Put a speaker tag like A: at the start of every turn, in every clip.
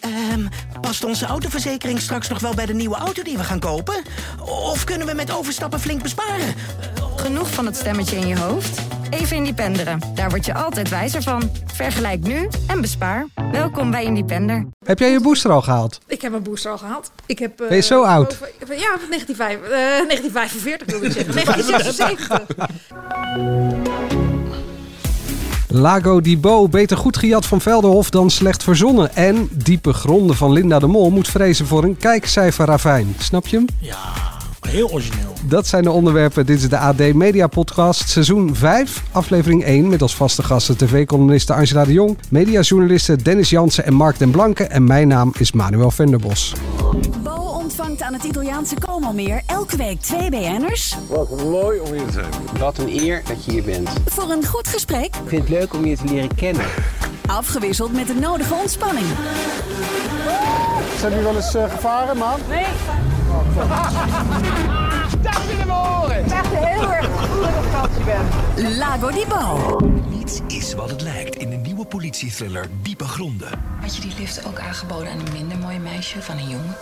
A: Ehm, past onze autoverzekering straks nog wel bij de nieuwe auto die we gaan kopen? Of kunnen we met overstappen flink besparen?
B: Genoeg van het stemmetje in je hoofd? Even independeren. Daar word je altijd wijzer van. Vergelijk nu en bespaar. Welkom bij Independer.
C: Heb jij je booster al gehaald?
D: Ik heb mijn booster al gehad. Ik heb, eh,
C: Ben je zo oud?
D: boven- ja, 1945 eh, 1945 wilde ik zeggen. 1976.
C: Lago Dibo, beter goed gejat van Velderhof dan slecht verzonnen. En diepe gronden van Linda de Mol moet vrezen voor een kijkcijferravijn. Snap je hem?
E: Ja, Eh, heel origineel.
C: Dat zijn de onderwerpen. Dit is de AD Media Podcast, seizoen 5, aflevering 1. Met als vaste gasten tv-columniste Angela de Jong, mediajournalisten Dennis Jansen en Mark den Blanke. En mijn naam is Manuel Venderbos.
F: Bo ontvangt aan het Italiaanse Como-meer elke week twee BN'ers
G: Wat mooi om hier te zijn.
H: Wat een eer dat je hier bent.
F: voor een goed gesprek,
H: Ik vind het leuk om je te leren kennen.
F: afgewisseld met de nodige ontspanning.
G: Zijn jullie wel eens eh, gevaren, man?
F: Lago di Bo.
I: Niets is wat het lijkt in de nieuwe politiethriller Diepe Gronden.
J: Had je die lift ook aangeboden aan een minder mooi meisje van een jongen?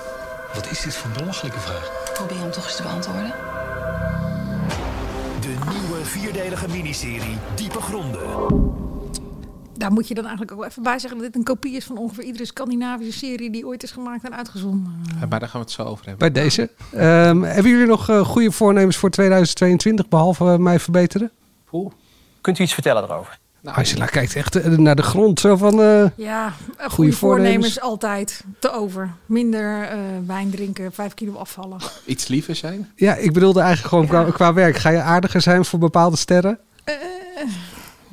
I: Wat is dit voor een belachelijke vraag?
J: Probeer hem toch eens te beantwoorden.
I: De nieuwe vierdelige miniserie Diepe Gronden.
D: Daar moet je dan eigenlijk ook wel even bij zeggen dat dit een kopie is van ongeveer iedere Scandinavische serie die ooit is gemaakt en uitgezonden.
K: Maar daar gaan we het zo over hebben.
C: Bij deze. Ehm, hebben jullie nog eh, goede voornemens voor 2022, behalve eh, mij verbeteren?
H: Kunt u iets vertellen erover?
C: Nou, Angela kijkt echt eh, naar de grond zo van... eh,
D: Ja, goede,
C: Goeie
D: voornemens.
C: voornemens.
D: altijd te over. Minder eh, wijn drinken, vijf kilo afvallen.
K: Iets liever zijn.
C: Ja, ik bedoelde eigenlijk gewoon qua, qua werk. Ga je aardiger zijn voor bepaalde sterren?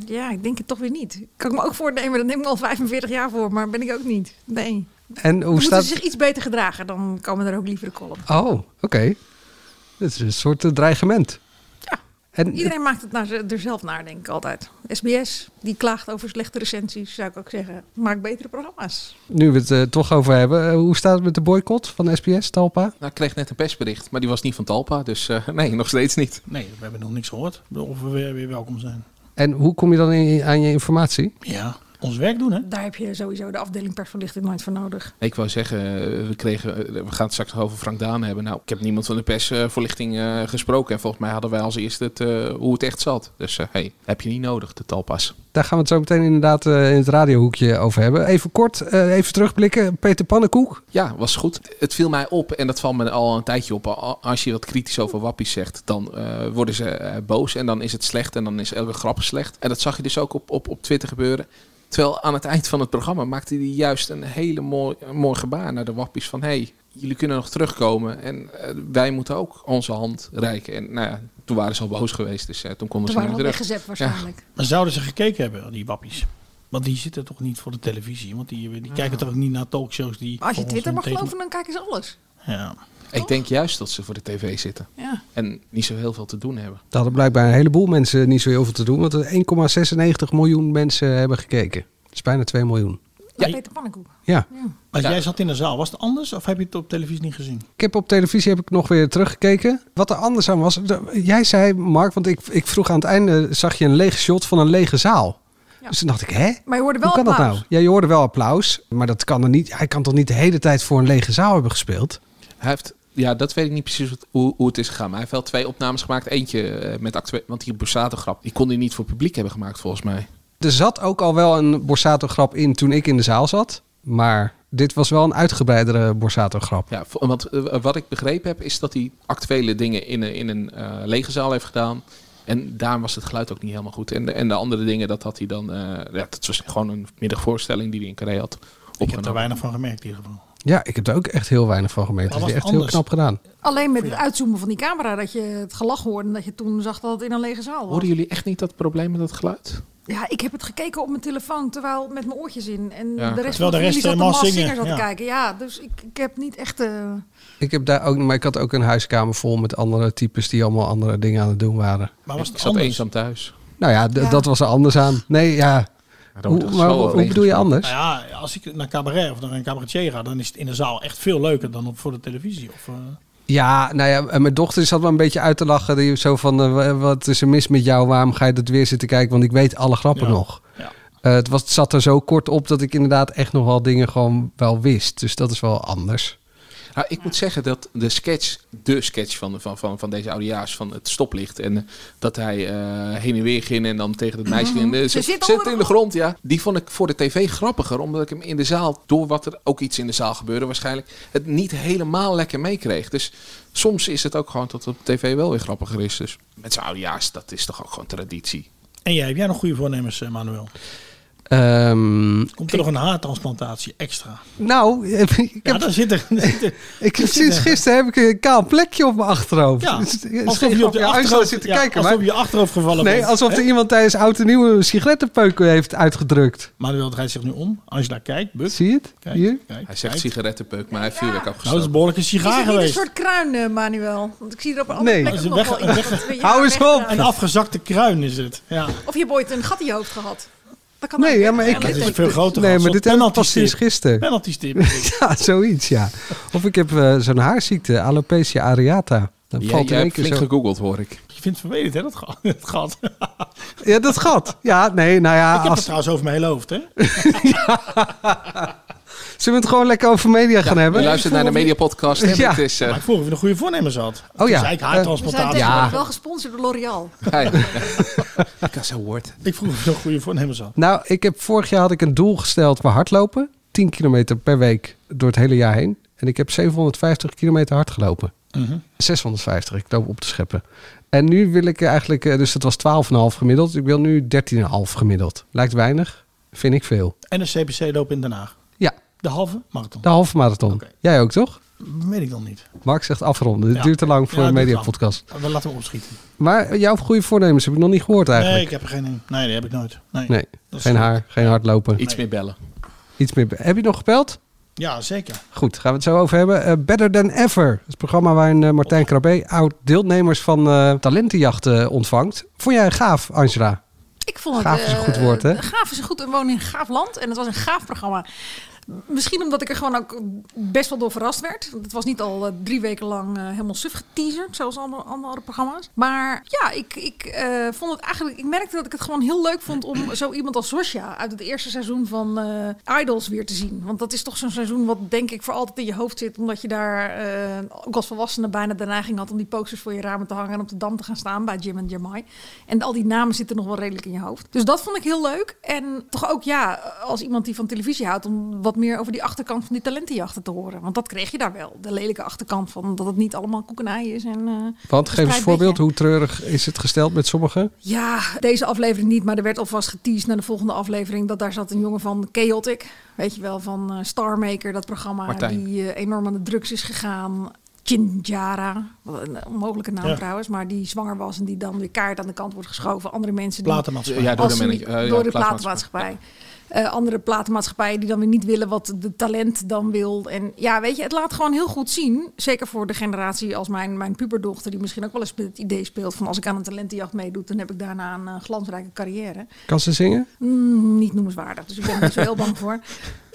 D: Ja, ik denk het toch weer niet. Kan ik me ook voornemen, dat neem ik me al 45 jaar voor, maar ben ik ook niet. Nee.
C: En hoe
D: Hoe moeten
C: staat...
D: ze zich iets beter gedragen, dan komen er ook lievere kolom.
C: Oh, oké. Dat is een soort eh, dreigement.
D: Ja.
C: En eh,
D: Iedereen maakt het naar, ze- er zelf naar, denk ik altijd. SBS, die klaagt over slechte recensies, zou ik ook zeggen. Maak betere programma's.
C: nu we het er toch over hebben, eh, hoe staat het met de boycott van SBS, Talpa?
K: Nou, ik kreeg net een persbericht, maar die was niet van Talpa. Dus eh, nee, nog steeds niet.
E: Nee, we hebben nog niks gehoord. Of we weer, weer welkom zijn.
C: En hoe kom je dan in- aan je informatie?
E: Ja, ons werk doen, hè?
D: Daar heb je sowieso de afdeling persverlichting nooit voor nodig.
K: Ik wou zeggen, eh, we, kregen, eh, we gaan het straks nog over Frank Daan hebben. Nou, ik heb niemand van de persvoorlichting gesproken. En volgens mij hadden wij als eerste het, eh, hoe het echt zat. Dus eh, hey, heb je niet nodig, de Talpas.
C: Daar gaan we het zo meteen inderdaad eh, in het radiohoekje over hebben. Even kort, eh, even terugblikken. Peter Pannenkoek.
K: Ja, was goed. Het viel mij op, en dat valt me al een tijdje op. al- Als je wat kritisch over wappies zegt, dan eh, worden ze eh, boos. En dan is het slecht en dan is elke grap slecht. En dat zag je dus ook op, op, op Twitter gebeuren. Terwijl aan het eind van het programma maakte hij juist een hele mooi, een mooi gebaar naar de wappies. Van, hé, hey, jullie kunnen nog terugkomen. En eh, wij moeten ook onze hand reiken. En nou ja, toen waren ze al boos geweest. Dus eh, toen konden
D: Er
K: ze
D: waren
K: niet
D: al
K: meer terug.
D: weggezet waarschijnlijk.
E: Maar zouden ze gekeken hebben, die wappies? Want die zitten toch niet voor de televisie? Want die, die kijken toch ook niet naar talkshows die...
D: Als je
E: volgens
D: Twitter
E: hun
D: mag
E: tegen-
D: geloven, dan kijken ze alles.
E: Ja.
K: Ik denk juist dat ze voor de tv zitten.
D: Ja.
K: En niet zo heel veel te doen hebben.
C: Daar hadden blijkbaar een heleboel mensen niet zo heel veel te doen. Want er 1,96 miljoen mensen hebben gekeken. Dat is bijna 2 miljoen.
D: Ja.
E: Ja.
D: Peter Pannenkoek.
C: Ja.
E: Als
K: Ja.
E: jij zat in de zaal, was het anders? Of heb je het op televisie niet gezien?
C: Ik heb op televisie heb ik nog weer teruggekeken. Wat er anders aan was. de- Jij zei, Mark, want ik, ik vroeg aan het einde. zag je een leeg shot van een lege zaal.
D: Ja.
C: Dus toen dacht ik, hè?
D: Maar je hoorde wel
C: Hoe kan dat
D: applaus.
C: nou? Ja, je hoorde wel applaus. Maar dat kan er niet. Hij kan toch niet de hele tijd voor een lege zaal hebben gespeeld?
K: Hij heeft, ja, dat weet ik niet precies wat- hoe, hoe het is gegaan. Maar hij heeft wel twee opnames gemaakt. Eentje eh, met acte, want die Borsato-grap, die kon hij niet voor publiek hebben gemaakt volgens mij.
C: Er zat ook al wel een Borsato-grap in toen ik in de zaal zat. Maar dit was wel een uitgebreidere Borsato-grap.
K: Ja, vo- want eh, wat ik begrepen heb, is dat hij actuele dingen in een, in een eh, lege zaal heeft gedaan. En daar was het geluid ook niet helemaal goed. En de, en de andere dingen, dat had hij dan... eh, ja, dat was gewoon een middagvoorstelling die hij in Carré had
E: Ik heb er
K: opgenomen.
E: weinig van gemerkt in ieder geval.
C: Ja, ik heb er ook echt heel weinig van gemerkt.
E: Maar
C: Dat is
E: was
C: echt
E: het
C: heel
E: anders?
C: knap gedaan.
D: Alleen met het uitzoomen van die camera, dat je het gelach hoorde en dat je toen zag dat het in een lege zaal was.
K: Hoorden jullie echt niet dat probleem met dat geluid?
D: Ja, ik heb het gekeken op mijn telefoon, terwijl met mijn oortjes in. En
K: Ja.
D: de rest
E: Terwijl de
D: van de
E: rest,
D: familie zat
E: eh,
D: de
E: Maas
D: Maas
E: Singer,
D: Singer zat
E: ja.
D: te kijken. Ja, dus ik, ik heb niet echt... eh,
C: Ik heb daar ook, maar ik had ook een huiskamer vol met andere types die allemaal andere dingen aan het doen waren.
E: Maar was
K: ik
E: het
K: zat
E: anders?
K: eenzaam thuis.
C: Nou ja, d-
D: Ja.
C: dat was er anders aan. Nee, ja. Hoe,
K: Dat is
C: maar hoe,
K: wel
C: hoe
K: overeengesproken.
C: bedoel je anders?
E: Nou ja, als ik naar cabaret of naar een cabaretier ga, dan is het in de zaal echt veel leuker dan op voor de televisie. Of, eh,
C: Ja, nou ja, en mijn dochter zat wel een beetje uit te lachen. Die zo van, eh, wa- wat is er mis met jou? Waarom ga je dat weer zitten kijken? Want ik weet alle grappen
E: Ja.
C: nog.
E: ja.
C: Eh, het, was, het zat er zo kort op dat ik inderdaad echt nog wel dingen gewoon wel wist. Dus dat is wel anders.
K: Nou, ik moet zeggen dat de sketch, de sketch van, van, van, van deze oudejaars, van het stoplicht. En eh, dat hij eh, heen en weer ging en dan tegen het meisje ging. eh,
D: Ze
K: Ze
D: zit
K: zit,
D: onder
K: in de grond, ja. Die vond ik voor de tv grappiger, omdat ik hem in de zaal, door wat er ook iets in de zaal gebeurde waarschijnlijk, het niet helemaal lekker meekreeg. Dus soms is het ook gewoon dat het op tv wel weer grappiger is. Dus met zijn oudejaars, dat is toch ook gewoon traditie.
E: En jij, heb jij nog goede voornemens, eh, Manuel?
C: Ehm,
E: Komt er nog een haartransplantatie extra?
C: nou, ik heb,
E: Ja, daar zit er.
C: ik heb
E: zit
C: sinds
E: er-
C: gisteren heb ik een kaal plekje op mijn achterhoofd. Dus
E: Ja,
C: Het is- het is
E: alsof
C: geen
E: je op
C: grapje.
E: je
C: Als
E: achterhoofd
C: zit te
E: ja,
C: kijken,
E: Alsof
C: maar-
E: je achterhoofd gevallen
C: Nee,
E: bent.
C: alsof
E: Hè?
C: er iemand tijdens oud en nieuw een sigarettenpeuk heeft uitgedrukt.
E: Manuel draait zich nu om. Angela kijkt, Buk.
C: Zie je het?
E: Kijk,
C: Hier?
E: kijk,
K: Hij zegt
E: kijk.
K: sigarettenpeuk, maar hij heeft vuurwerk
E: Nou, dat is
K: afgestoken.
E: een behoorlijke
D: Is
E: sigaar
D: het niet een
E: geweest.
D: soort kruin, eh, Manuel? Want ik zie er op een andere
C: Nee.
D: plek
E: Dat
D: ook
E: is een
D: nog
E: weg-
D: wel in. dat we- ja,
C: Hou eens
D: wegkruin.
C: op!
E: Een afgezakte kruin is het. Ja.
D: Of je hebt ooit een gat in je hoofd gehad. Dat kan
C: Nee,
D: ook.
C: ja, maar ik...
E: dat is veel groter.
C: Nee, maar dit heb ik pas sinds
E: is
C: gisteren.
E: Penalty stip.
C: Ja, zoiets, ja. Of ik heb eh, zo'n haarziekte, alopecia areata. Dan
K: Jij,
C: valt in
K: jij
C: één
K: hebt
C: keer
K: flink
C: zo...
K: gegoogeld, hoor ik.
E: Je vindt het vervelend, hè, dat gat. Dat gat. Ik heb
C: Ja, dat gat. Ja, nee, nou ja.
E: het
C: Ah, Als...
E: trouwens over mijn hele hoofd, hè?
C: Zullen we het gewoon lekker over media gaan hebben?
K: Je luistert naar de mediapodcast. hè?
C: Ja.
K: Het is, eh,
E: Maar ik vroeg of je een goede voornemens had. Dus
C: Oh ja. Eh,
E: eigenlijk
D: We zijn
E: haartransplantatie.
D: tegenwoordig wel gesponsord door L'Oreal.
K: hij- Ik had zo'n woord.
E: Ik vroeg of je een goede voornemens had.
C: Nou, ik heb vorig jaar had ik een doel gesteld bij hardlopen. 10 kilometer per week door het hele jaar heen. En ik heb 750 kilometer hard gelopen. 650, ik loop op te scheppen. En nu wil ik eigenlijk, eh, dus dat was 12,5 gemiddeld. Ik wil nu 13,5 gemiddeld. Lijkt weinig, vind ik veel.
E: En een CPC lopen in Den Haag.
C: Ja,
E: De halve marathon.
C: de halve marathon.
E: Oké.
C: Jij ook toch?
E: Weet ik dan niet.
C: Mark zegt afronden. Het
E: Ja.
C: duurt te lang voor
E: Ja,
C: een
E: het duurt
C: mediapodcast.
E: We laten hem opschieten.
C: Maar jouw goede voornemens heb ik nog niet gehoord
E: Nee,
C: eigenlijk.
E: ik heb er geen in. Nee, die heb ik nooit. Nee.
C: Nee,
E: Dat is
C: geen
E: goed.
C: haar, geen hardlopen.
K: Iets meer bellen.
C: Iets meer. Heb je nog gebeld?
E: Ja, zeker.
C: Goed, gaan we het zo over hebben. Eh, Better Than Ever, het programma waarin eh, Martijn Krabbe oud deelnemers van eh talentenjachten ontvangt. Vond jij gaaf, Angela?
D: Ik vond het,
C: Gaaf is een
D: eh,
C: goed woord, hè?
D: Gaaf is een goed. We wonen in een gaaf land en het was een gaaf programma. Misschien omdat ik er gewoon ook best wel door verrast werd. Want het was niet al eh, drie weken lang eh, helemaal suf geteaserd, zoals andere, andere programma's. Maar ja, ik, ik eh, vond het eigenlijk. Ik merkte dat ik het gewoon heel leuk vond om zo iemand als Sosja uit het eerste seizoen van eh, Idols weer te zien. Want dat is toch zo'n seizoen wat denk ik voor altijd in je hoofd zit. Omdat je daar eh, ook als volwassene bijna de neiging had om die posters voor je ramen te hangen en op de dam te gaan staan bij Jim en Jamai. En al die namen zitten nog wel redelijk in je hoofd. Dus dat vond ik heel leuk. En toch ook, ja, als iemand die van televisie houdt, om wat meer over die achterkant van die talentenjachten te horen. Want dat kreeg je daar wel. De lelijke achterkant van dat het niet allemaal koekenij is. En, eh,
C: Want geef
D: verspreid
C: eens een voorbeeld,
D: beetje.
C: hoe treurig is het gesteld met sommigen?
D: Ja, deze aflevering niet, maar er werd alvast geteased naar de volgende aflevering. Dat daar zat een jongen van Chaotic, weet je wel, van eh, Starmaker, dat programma.
K: Martijn.
D: Die eh, enorm aan de drugs is gegaan. Chinjara, wat een onmogelijke naam
E: Ja.
D: trouwens, maar die zwanger was en die dan weer kaart aan de kant wordt geschoven. Andere mensen die
E: Platenmaatschappij.
K: Ja, door de,
D: als ze
K: manager-
D: niet-
K: eh, ja,
D: door de
K: platenmaatschappij.
D: platenmaatschappij. Eh, andere platenmaatschappijen die dan weer niet willen wat de talent dan wil. En ja, weet je, het laat gewoon heel goed zien. Zeker voor de generatie als mijn, mijn puberdochter, die misschien ook wel eens met het idee speelt van als ik aan een talentenjacht meedoe, dan heb ik daarna een eh, glansrijke carrière.
C: Kan ze zingen?
D: Mm, niet noemenswaardig, dus ik ben er niet zo heel bang voor.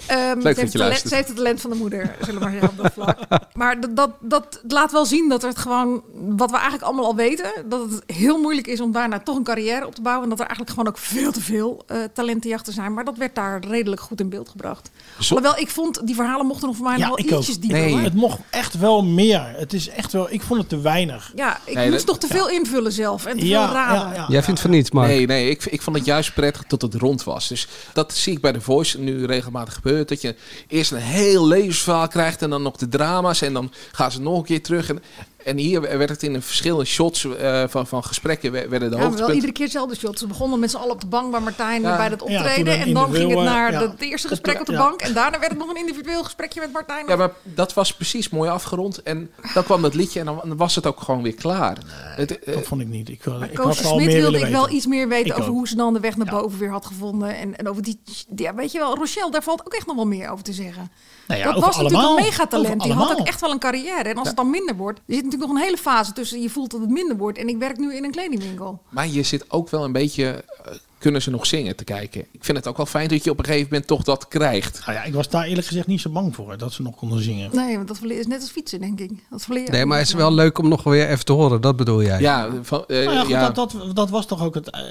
D: Ehm, ze, heeft
K: je
D: het talent,
K: luistert.
D: ze heeft het talent van de moeder, zullen we maar zeggen op dat vlak. Maar dat, dat, dat laat wel zien dat er het gewoon, wat we eigenlijk allemaal al weten, dat het heel moeilijk is om daarna toch een carrière op te bouwen. En dat er eigenlijk gewoon ook veel te veel eh, talentenjachten zijn. Maar dat werd daar redelijk goed in beeld gebracht. Alhoewel, ik vond, die verhalen mochten nog voor mij
E: Ja,
D: nog
E: ik
D: wel
E: ook.
D: ietsjes dieper.
K: Nee.
D: hoor.
E: Het mocht echt wel meer. Het is echt wel... Ik vond het te weinig.
D: Ja, ik
K: Nee,
D: moest
K: dat-
D: nog te veel invullen zelf en te veel raden.
C: Jij vindt van niet, Mark.
K: Nee, nee, ik, ik vond het juist prettig dat het rond was. Dus dat zie ik bij The Voice nu regelmatig gebeuren. Dat je eerst een heel levensverhaal krijgt en dan nog de drama's. En dan gaan ze nog een keer terug. En, en hier werd het in een verschillende shots eh, van, van gesprekken we- werden de
D: Ja, maar wel
K: hoofdpunten.
D: iedere keer hetzelfde shot. Ze begonnen met z'n allen op de bank bij Martijn
K: Ja.
D: bij dat
E: Ja, toen
D: optreden.
E: dan
D: en dan ging het
E: individueel,
D: naar
E: eh,
D: de-
E: ja.
D: het eerste gesprek op de
E: Ja.
D: bank. En daarna werd het nog een individueel gesprekje met Martijn.
K: Ja, maar dat was precies mooi afgerond. En dan kwam dat liedje en dan was het ook gewoon weer klaar. Het, eh,
E: Dat vond ik niet. Ik, wil-
D: Maar
E: ik
D: Koos
E: had wel meer
D: Smit
E: willen
D: wilde ik
E: weten.
D: wel iets meer weten
E: Ik
D: over
E: ook.
D: hoe ze dan de weg naar boven weer had gevonden. En, en over die, die- ja, weet je wel, Rochelle, daar valt ook echt nog wel meer over te zeggen.
E: Nou ja,
D: dat
E: over
D: was natuurlijk
E: allemaal.
D: een megatalent.
E: Over
D: Die had
E: allemaal.
D: ook echt wel een carrière. En als het dan minder wordt, er zit natuurlijk nog een hele fase tussen. Je voelt dat het minder wordt. En ik werk nu in een kledingwinkel.
K: Maar je zit ook wel een beetje eh, kunnen ze nog zingen te kijken. Ik vind het ook wel fijn dat je op een gegeven moment toch dat krijgt.
E: Nou ja, ik was daar eerlijk gezegd niet zo bang voor dat ze nog konden zingen.
D: Nee, want dat verleer- is net als fietsen, denk ik. Dat verleer je
C: Nee,
D: ook
C: maar
D: niet.
C: het is wel leuk om nog weer even te horen. Dat bedoel jij?
K: Ja, van, eh,
E: Nou ja, goed,
K: ja.
E: Dat, dat, dat was toch ook het. eh,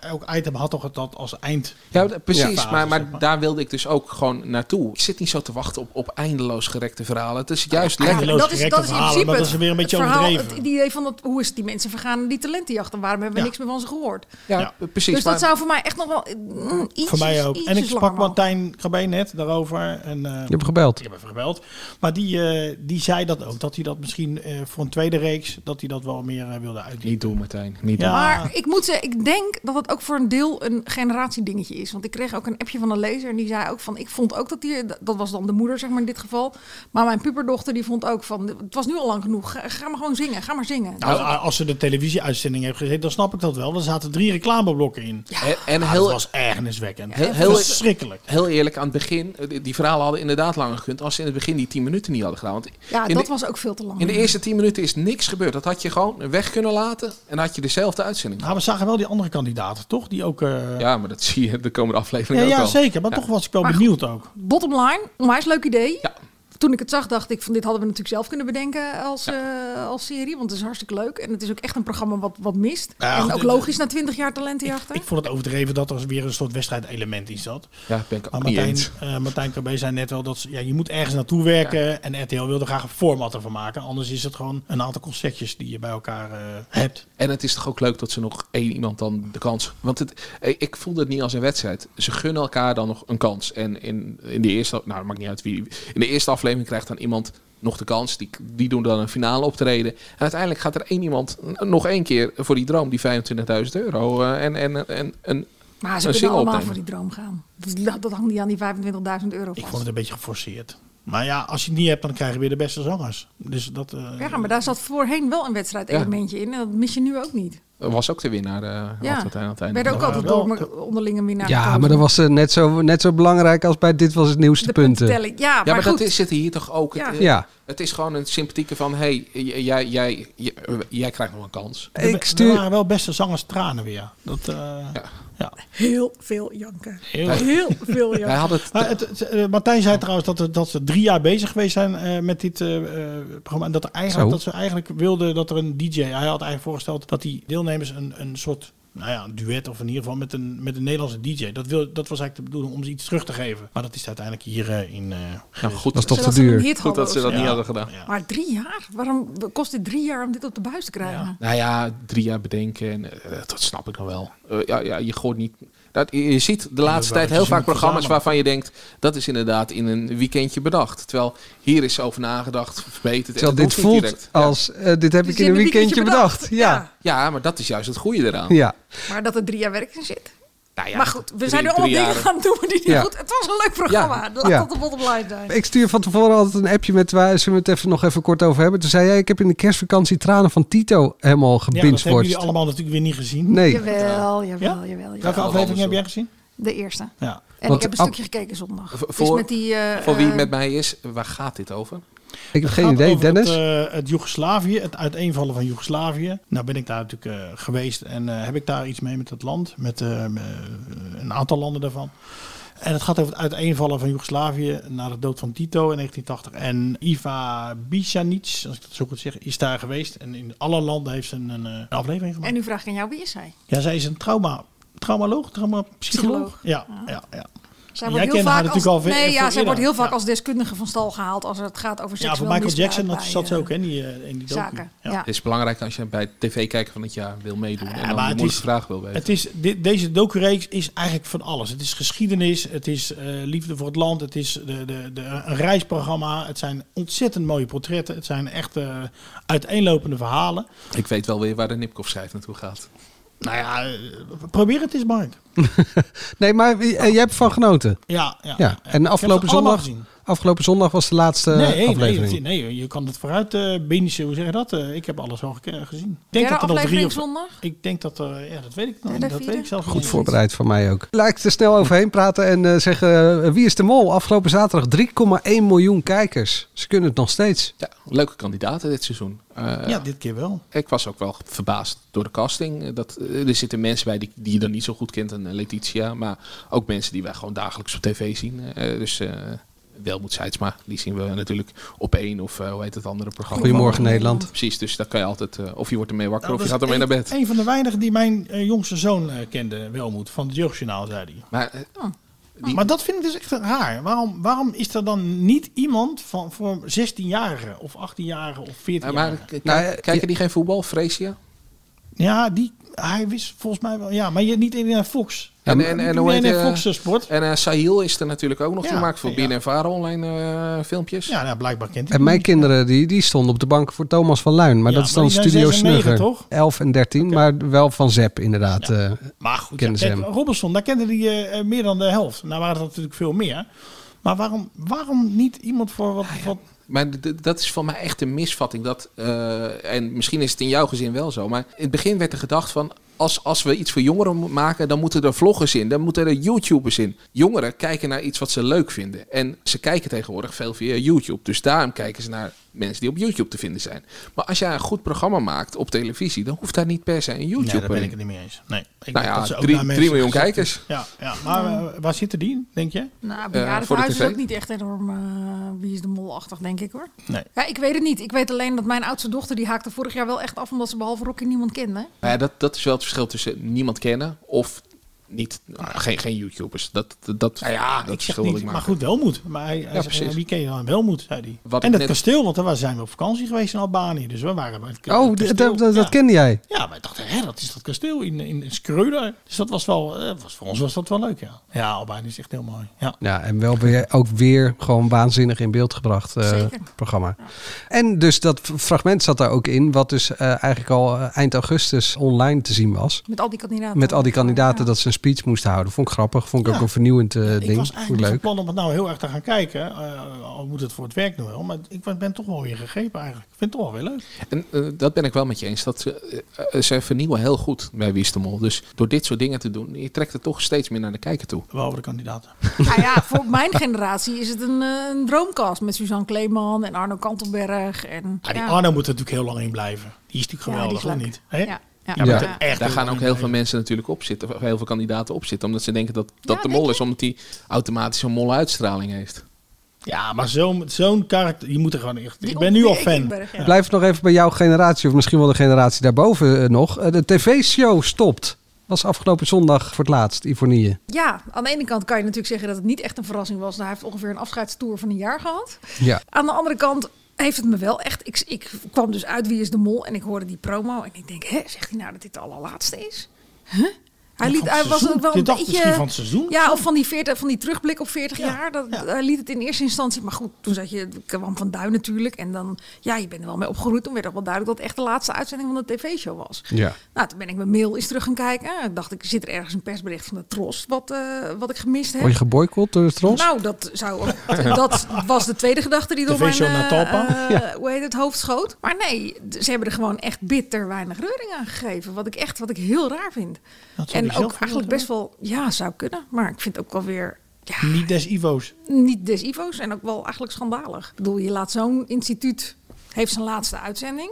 E: elk item had toch het, dat als eind.
K: Ja, d- precies.
E: Ja.
K: maar, maar
E: Zeg maar.
K: daar wilde ik dus ook gewoon naartoe. Ik zit niet zo te wachten op, op eindeloos gerekte verhalen. Het is juist lekker.
E: eindeloos
D: dat is,
E: gerekte
D: dat is in
E: verhalen,
D: principe
E: maar dat is weer
D: het
E: een beetje
D: verhaal,
E: overdreven.
D: Het idee van dat, hoe is die mensen vergaan aan die talentenjacht en waarom hebben we
E: Ja.
D: niks meer van ze gehoord.
K: Ja,
E: Ja.
K: eh, precies.
D: dus dat
K: maar-
D: zou voor mij echt nog wel mm, iets
E: Voor mij ook. En ik sprak Martijn Krabbe net daarover. En, eh,
C: Je hebt gebeld.
E: Ik heb even gebeld. Maar die, eh, die zei dat ook. Dat hij dat misschien eh, voor een tweede reeks. dat hij dat wel meer eh, wilde uitdiepen.
K: Niet doen, Martijn. Niet
E: Ja.
D: Maar ik moet zeggen, ik denk dat het ook voor een deel een generatiedingetje is. Want ik kreeg ook een appje van een lezer en die zei ook van... ik vond ook dat die, dat was dan de moeder zeg maar in dit geval... maar mijn puberdochter die vond ook van... het was nu al lang genoeg, ga, ga maar gewoon zingen, ga maar zingen.
E: Nou, a- als ze de televisieuitzending heeft gezeten, dan snap ik dat wel. Er zaten drie reclameblokken in.
K: doen. En, en
E: Ah,
K: heel,
E: dat was ergerniswekkend.
K: Heel-
E: Heel,
K: heel-
E: verschrikkelijk.
K: heel eerlijk, aan het begin, eh, die- die verhalen hadden inderdaad langer gekund als ze in het begin die 10 minuten niet hadden gedaan. Want
D: ja,
K: in
D: dat
K: de,
D: was ook veel te lang.
K: in de eerste 10 minuten is niks gebeurd. Dat had je gewoon weg kunnen laten en had je dezelfde uitzending.
E: Nou, we zagen wel die andere kandidaten, toch? Die ook. eh,
K: Ja, maar dat zie je de komende
E: ja,
K: aflevering
E: ja,
K: ook al.
E: zeker. Maar
K: Ja.
E: toch was ik wel
D: Maar
E: benieuwd ook.
D: Bottom line, onwijs leuk idee.
K: Ja.
D: Toen ik het zag, dacht ik van dit hadden we natuurlijk zelf kunnen bedenken als, eh, als serie. Want het is hartstikke leuk. En het is ook echt een programma wat, wat mist.
E: Ja,
D: en
E: goed,
D: ook
E: eh,
D: logisch na twintig jaar talentenjachten.
E: Ik vond het overdreven dat er weer een soort wedstrijdelement in zat.
K: Ja, ben ik
E: Maar
K: ook niet
E: Martijn,
K: eens.
E: eh Martijn Krabbe zei net wel dat ze- ja, je moet ergens naartoe werken. En RTL wil er graag een format van maken. Anders is het gewoon een aantal conceptjes die je bij elkaar eh, hebt.
K: En het is toch ook leuk dat ze nog één iemand dan de kans. Want het, eh, ik voelde het niet als een wedstrijd. Ze gunnen elkaar dan nog een kans. En in, in de eerste, nou maakt niet uit wie. In de eerste aflevering krijgt dan iemand nog de kans. Die, die doen dan een finale optreden. En uiteindelijk gaat er één iemand n- nog één keer voor die droom, die 25.000 euro. eh, En, en, en, en
D: maar ze
K: een
D: kunnen
K: single
D: allemaal
K: opnemen.
D: voor die droom gaan. Dat, dat hangt niet aan die 25.000 euro
E: Ik
D: vast.
E: vond het een beetje geforceerd. Maar ja, als je het niet hebt, dan krijgen we weer de beste zangers. Dus dat, eh,
D: Ja, maar daar zat voorheen wel een wedstrijdelementje in. En dat mis je nu ook niet.
K: er was ook de winnaar. eh
D: Ja.
K: altijd aan het
D: Er
K: einde.
D: werden ook
E: waren
D: altijd
E: wel-
D: door me- onderlinge winnaar.
C: Ja,
D: gekozen.
C: maar dat was eh, net, zo, net zo belangrijk als bij Dit Was Het Nieuws, de,
D: de
C: punten.
D: puntentelling. Ja, maar,
K: Ja, maar
D: goed.
K: dat is, zit hier toch ook.
D: Ja.
K: Het, eh,
C: Ja.
K: het is gewoon een sympathieke van: hé, hey, jij, jij, jij, jij krijgt nog een kans.
E: er-
C: Ik
E: Er
C: stuur...
E: waren wel beste zangers tranen weer. Dat, eh, ja.
D: Heel veel janken.
E: Heel
D: Heel veel
K: Wij
D: janken.
K: hadden het.
E: Maar het, het, eh, Martijn zei trouwens dat, er- dat ze drie jaar bezig geweest zijn eh, met dit eh, eh, programma. En dat, er eigenlijk,
C: Zo.
E: dat ze eigenlijk wilden dat er een DJ. Hij had eigenlijk voorgesteld dat die deelnemers een, een soort. Nou ja, een duet of in ieder geval met een, met een Nederlandse DJ. Dat, wil, dat was eigenlijk de bedoeling om ze iets terug te geven. Maar dat is uiteindelijk hierin.
K: Nou, goed,
C: Dat is toch
D: Zodat
C: te
D: ze een
C: duur.
D: hit
K: goed
D: hadden
K: dat ze
D: of
K: dat niet
E: zo. eh, Ja.
K: hadden gedaan.
E: Ja.
D: Maar drie jaar? Waarom kost het drie jaar om dit op de buis te krijgen?
K: Nou ja, drie jaar bedenken, en, eh, dat snap ik nog wel. Eh, ja, ja, je gooit niet. Dat, je, je ziet de laatste
E: wel
K: tijd
E: wat
K: heel
E: je
K: vaak
E: moet
K: programma's
E: verzamelen.
K: waarvan je denkt dat is inderdaad in een weekendje bedacht. Terwijl hier is over nagedacht, verbeterd. en
C: Terwijl
K: dat
C: dit
K: hoeft niet
C: voelt
K: direct.
C: als... eh, dit heb
D: Dus
C: ik in een weekendje bedacht. Ja.
K: Ja, maar dat is juist het goede eraan.
C: Ja.
D: Maar dat er drie jaar werk in zit.
K: Nou ja,
D: maar goed, we
K: drie-
D: zijn nu allemaal
K: drie
D: dingen
K: jaren.
D: gaan doen die niet
C: Ja.
D: goed... Het was een leuk programma. Laat
C: Ja.
D: dat de bottom line zijn.
C: Ik stuur van tevoren altijd een appje met waar zullen we het even nog even kort over hebben. Toen zei jij, ik heb in de kerstvakantie tranen van Tito helemaal
E: Ja, dat hebben jullie
C: gebingeworst.
E: allemaal natuurlijk weer niet gezien.
C: nee,
D: Jawel, jawel,
E: Ja?
D: jawel, jawel.
E: Welke aflevering
K: andersom.
E: heb jij gezien?
D: De eerste.
E: Ja.
D: En
C: Want
D: ik heb een
C: ab-
D: stukje gekeken zondag.
K: Voor-
D: Dus
K: voor-
D: met die, eh,
K: Voor wie
D: eh,
K: met mij is, waar gaat dit over?
C: ik heb
E: Het
C: geen
E: gaat
C: idee.
E: over
C: Dennis?
E: Het, eh, het Joegoslavië, het uiteenvallen van Joegoslavië. Nou ben ik daar natuurlijk eh, geweest en eh, heb ik daar iets mee met het land, met eh, eh, een aantal landen daarvan. En het gaat over het uiteenvallen van Joegoslavië na de dood van Tito in 1980. En Iva Bicanic, als ik dat zo goed zeg, is daar geweest. En in alle landen heeft ze een, een, eh, aflevering gemaakt.
D: En nu vraag ik aan jou, wie is zij?
E: Ja, zij is een trauma, traumaloog, traumapsycholoog.
D: Psycholoog. Ah.
E: Ja, ja, ja.
D: Zij
E: Jij kende haar
D: als,
E: natuurlijk al veel-
D: nee,
E: veel
D: ja, zij
E: eerder.
D: wordt heel vaak
E: Ja.
D: als deskundige van stal gehaald als het gaat over
E: Ja,
D: seksueel
E: voor Michael
D: misbruik
E: Jackson dat
D: bij,
E: zat ze
D: eh,
E: ook hè, in die, eh, in die docu.
D: zaken. Ja.
E: Ja.
K: Het is belangrijk als je bij het tv-kijken van het jaar wil meedoen en
E: Ja,
K: dan
E: maar
K: de
E: het
K: moeilijke
E: is-
K: vraag wil weten.
E: Het is, di- deze docureeks is eigenlijk van alles. Het is geschiedenis, het is eh, liefde voor het land, het is de, de, de, een reisprogramma. Het zijn ontzettend mooie portretten. Het zijn echt eh, uiteenlopende verhalen.
K: Ik weet wel weer waar de Nipkoff schrijf naartoe gaat.
E: Nou ja, eh, probeer het eens, Mark.
C: Nee, maar eh, jij hebt van genoten.
E: oh. Ja, ja.
C: Ja, en
E: Ik heb ze
C: afgelopen zondag
E: allemaal gezien.
C: Afgelopen zondag was de laatste
E: nee,
C: aflevering.
E: Nee, nee, je kan het vooruit eh binden, hoe zeg je dat? Eh, ik heb alles al geke- gezien. Ik
D: Derde
E: denk dat er nog drie
D: aflevering
E: of...
D: zondag?
E: Ik denk dat er... Ja, dat weet ik nog.
D: Derde,
E: niet. Dat weet
D: vierde?
E: ik zelf
C: Goed voorbereid van mij ook. Laat ik er snel overheen praten en eh, zeggen... eh, wie is de mol? Afgelopen zaterdag 3,1 miljoen kijkers. Ze kunnen het nog steeds.
K: Ja, leuke kandidaten dit seizoen. Eh,
E: Ja, dit keer wel.
K: Ik was ook wel verbaasd door de casting. Eh, Dat, eh, er zitten mensen bij die, die je dan niet zo goed kent, en eh, Letitia. Maar ook mensen die wij gewoon dagelijks op tv zien. Eh, dus eh Welmoed Seidsma, die zien we natuurlijk op één of eh, hoe heet het andere programma.
C: Goedemorgen, Nederland.
K: Precies, dus daar kan je altijd, eh, of je wordt ermee wakker
E: Nou,
K: of je
E: dat
K: gaat
E: is
K: ermee naar
E: een-
K: bed.
E: Een van de weinigen die mijn eh, jongste zoon eh, kende, Welmoed, van het jeugdjournaal, zei hij.
K: Maar eh,
E: Maar dat vind ik dus echt raar. Waarom, waarom is er dan niet iemand van, voor 16-jarigen of 18-jarigen of 14-jarigen?
K: maar, k- k-
C: Nou, eh,
K: kijken
C: ja.
K: die geen voetbal, Freesia?
E: Ja, die, hij wist volgens mij wel. Ja, maar je, niet in eh, Fox.
K: En- en- en hoe
E: Nee,
K: heet,
E: nee,
K: eh,
E: Fox eh, Sport.
K: En eh Sahil is er natuurlijk ook nog.
E: Ja,
K: Die maakt voor
E: ja.
K: Binnen en Varen online eh, filmpjes.
E: Ja, nou, blijkbaar kent hij
C: En mijn kinderen die, die stonden op de bank voor Thomas van Luin. Maar
E: Ja,
C: dat is
E: maar
C: dan
E: die zijn
C: Studio
E: zes en negen,
C: Snugger.
E: toch?
C: 11 en 13, maar wel van Zep inderdaad. eh.
E: Maar goed, ja,
C: Kennen ze
E: kijk,
C: hem.
E: Robinson, daar kende hij eh, eh, meer dan de helft. Nou waren dat natuurlijk veel meer. Maar waarom, waarom niet iemand voor
K: Ah,
E: wat... wat
K: Maar d- d- dat is voor mij echt een misvatting. Dat, eh, en misschien is het in jouw gezin wel zo. Maar in het begin werd er gedacht van... Als, als we iets voor jongeren mo- maken, dan moeten er vloggers in. Dan moeten er YouTubers in. Jongeren kijken naar iets wat ze leuk vinden. En ze kijken tegenwoordig veel via YouTube. Dus daarom kijken ze naar mensen die op YouTube te vinden zijn. Maar als jij een goed programma maakt op televisie... dan hoeft daar niet per se een
E: nee, daar
K: YouTuber
E: ben ik
K: in.
E: het niet mee eens. Nee, ik
K: Nou
E: denk dat ze
K: ja,
E: ook
K: 3
E: naar mensen
K: miljoen
E: gezocht dus-
K: kijkers.
E: is. Ja, ja, maar eh, waar zitten die, denk je?
D: Nou,
K: voor de
D: bejaardenhuis is
K: tv?
D: ook niet echt enorm eh, wie is de molachtig, denk ik hoor.
E: Nee.
D: Ja, ik weet het niet. Ik weet alleen dat mijn oudste dochter, die haakte vorig jaar wel echt af... omdat ze behalve Rocky niemand kende.
K: Nou ja, dat, dat is wel het verschil tussen niemand kennen of niet, nou, geen, geen YouTubers. Dat, dat, dat,
E: Nou ja,
K: dat
E: ik zeg
K: verschil wil
E: niet,
K: ik
E: maar
K: maken.
E: goed, Welmoed. Maar hij, hij zei,
K: precies.
E: wie ken je dan? Welmoed, zei hij.
K: Wat ik
E: en dat
K: net-
E: kasteel, want daar zijn we op vakantie geweest in Albanië. Dus we waren bij het
C: Oh,
E: het
C: d-
E: kasteel.
C: dat, dat, dat
E: Ja.
C: kende jij.
E: Ja, maar ik dacht, hè, dat is dat kasteel in, in, in Schreuder. Dus dat was wel, eh, was, voor ons was dat wel leuk, ja. Ja, Albanië is echt heel mooi. Ja.
C: Ja, en wel weer, ook weer gewoon waanzinnig in beeld gebracht eh,
D: Zeker.
C: programma. En dus dat f- fragment zat daar ook in, wat dus eh, eigenlijk al eh, eind augustus online te zien was.
D: Met al die kandidaten.
C: Met al die kandidaten
D: Ja.
C: dat ze een speech moesten houden. Vond ik grappig, vond ik
E: Ah. Ja.
C: ook een vernieuwend eh,
E: ik
C: ding.
E: was
C: Vond ik
E: eigenlijk niet van
C: leuk.
E: plan om het nou heel erg te gaan kijken. Eh, al moet het voor het werk nog wel. Maar ik was- ben toch wel weer gegrepen eigenlijk. Ik vind het toch wel weer leuk.
K: En eh, dat ben ik wel met je eens. Dat ze, eh, eh, ze vernieuwen heel goed bij Wie is de Mol. Dus door dit soort dingen te doen, je trekt het toch steeds meer naar de kijker toe.
E: Behalve de kandidaten.
D: Nou ja, voor mijn generatie is het een, eh, een droomkast met Suzanne Kleeman en Arno Kantelberg. En,
E: Ja, Ah, die
D: ja.
E: Arno moet er natuurlijk heel lang in blijven. Die is natuurlijk
D: Ja, die is
E: geweldig, of
D: leuk.
E: niet? Hè?
D: Ja, ja.
E: Die
D: Ja.
E: moet er
D: Ja.
E: echt eh,
K: Daar gaan
E: lang
K: ook heel
E: in
K: veel
E: blijven.
K: mensen natuurlijk op zitten. of Heel veel kandidaten op zitten. Omdat ze denken dat dat
D: Ja,
K: de
D: denk
K: mol is. Omdat hij automatisch een molle uitstraling heeft.
E: Ja, maar zo'n zo'n karakter, je moet er gewoon echt...
D: Die
E: ik ben nu al
D: Onke
E: fan.
D: Ekenberg, ja.
C: Blijf nog even bij jouw generatie, of misschien wel de generatie daarboven eh, nog. Eh, de tv-show stopt. Was afgelopen zondag voor het laatst, Ivonie.
D: Ja, aan de ene kant kan je natuurlijk zeggen dat het niet echt een verrassing was. Nou, hij heeft ongeveer een afscheidstoer van een jaar gehad.
C: Ja.
D: Aan de andere kant heeft het me wel echt... Ik, ik kwam dus uit Wie is de Mol en ik hoorde die promo. En ik denk, hè, zegt hij nou dat dit de allerlaatste is? Huh? Hij,
E: Ja,
D: liet,
E: van
D: hij
E: het
D: was
E: seizoen.
D: ook wel
E: Je
D: een
E: dacht
D: beetje...
E: misschien van het seizoen.
D: Ja, of van die, 40, van die terugblik op 40
E: Ja,
D: jaar. Dat,
E: ja.
D: Hij liet het in eerste instantie... Maar goed, toen zat je... kwam Van Duin natuurlijk. En dan... Ja, je bent er wel mee opgeroeid. Toen werd ook wel duidelijk dat het echt de laatste uitzending van de tv-show was.
C: Ja.
D: Nou, toen ben ik mijn mail eens terug gaan kijken. Ik dacht, ik zit er ergens een persbericht van de Tros wat, eh, wat ik gemist heb.
C: Word je geboycott door de Tros?
D: Nou, dat, zou ook, dat was de tweede gedachte die door mijn
E: TV-show
D: eh,
E: Natalpa.
D: eh, hoe heet het, hoofd schoot. Maar nee, d- ze hebben er gewoon echt bitter weinig reuring aan gegeven. Wat ik echt wat ik heel raar vind.
E: Dat zou
D: En
E: je
D: ook
E: zelf
D: eigenlijk
E: gewild
D: best wel, ja, zou kunnen. Maar ik vind het ook wel weer ja,
E: Niet des Ivo's.
D: niet des Ivo's en ook wel eigenlijk schandalig. Ik bedoel, je laat zo'n instituut, heeft zijn laatste uitzending.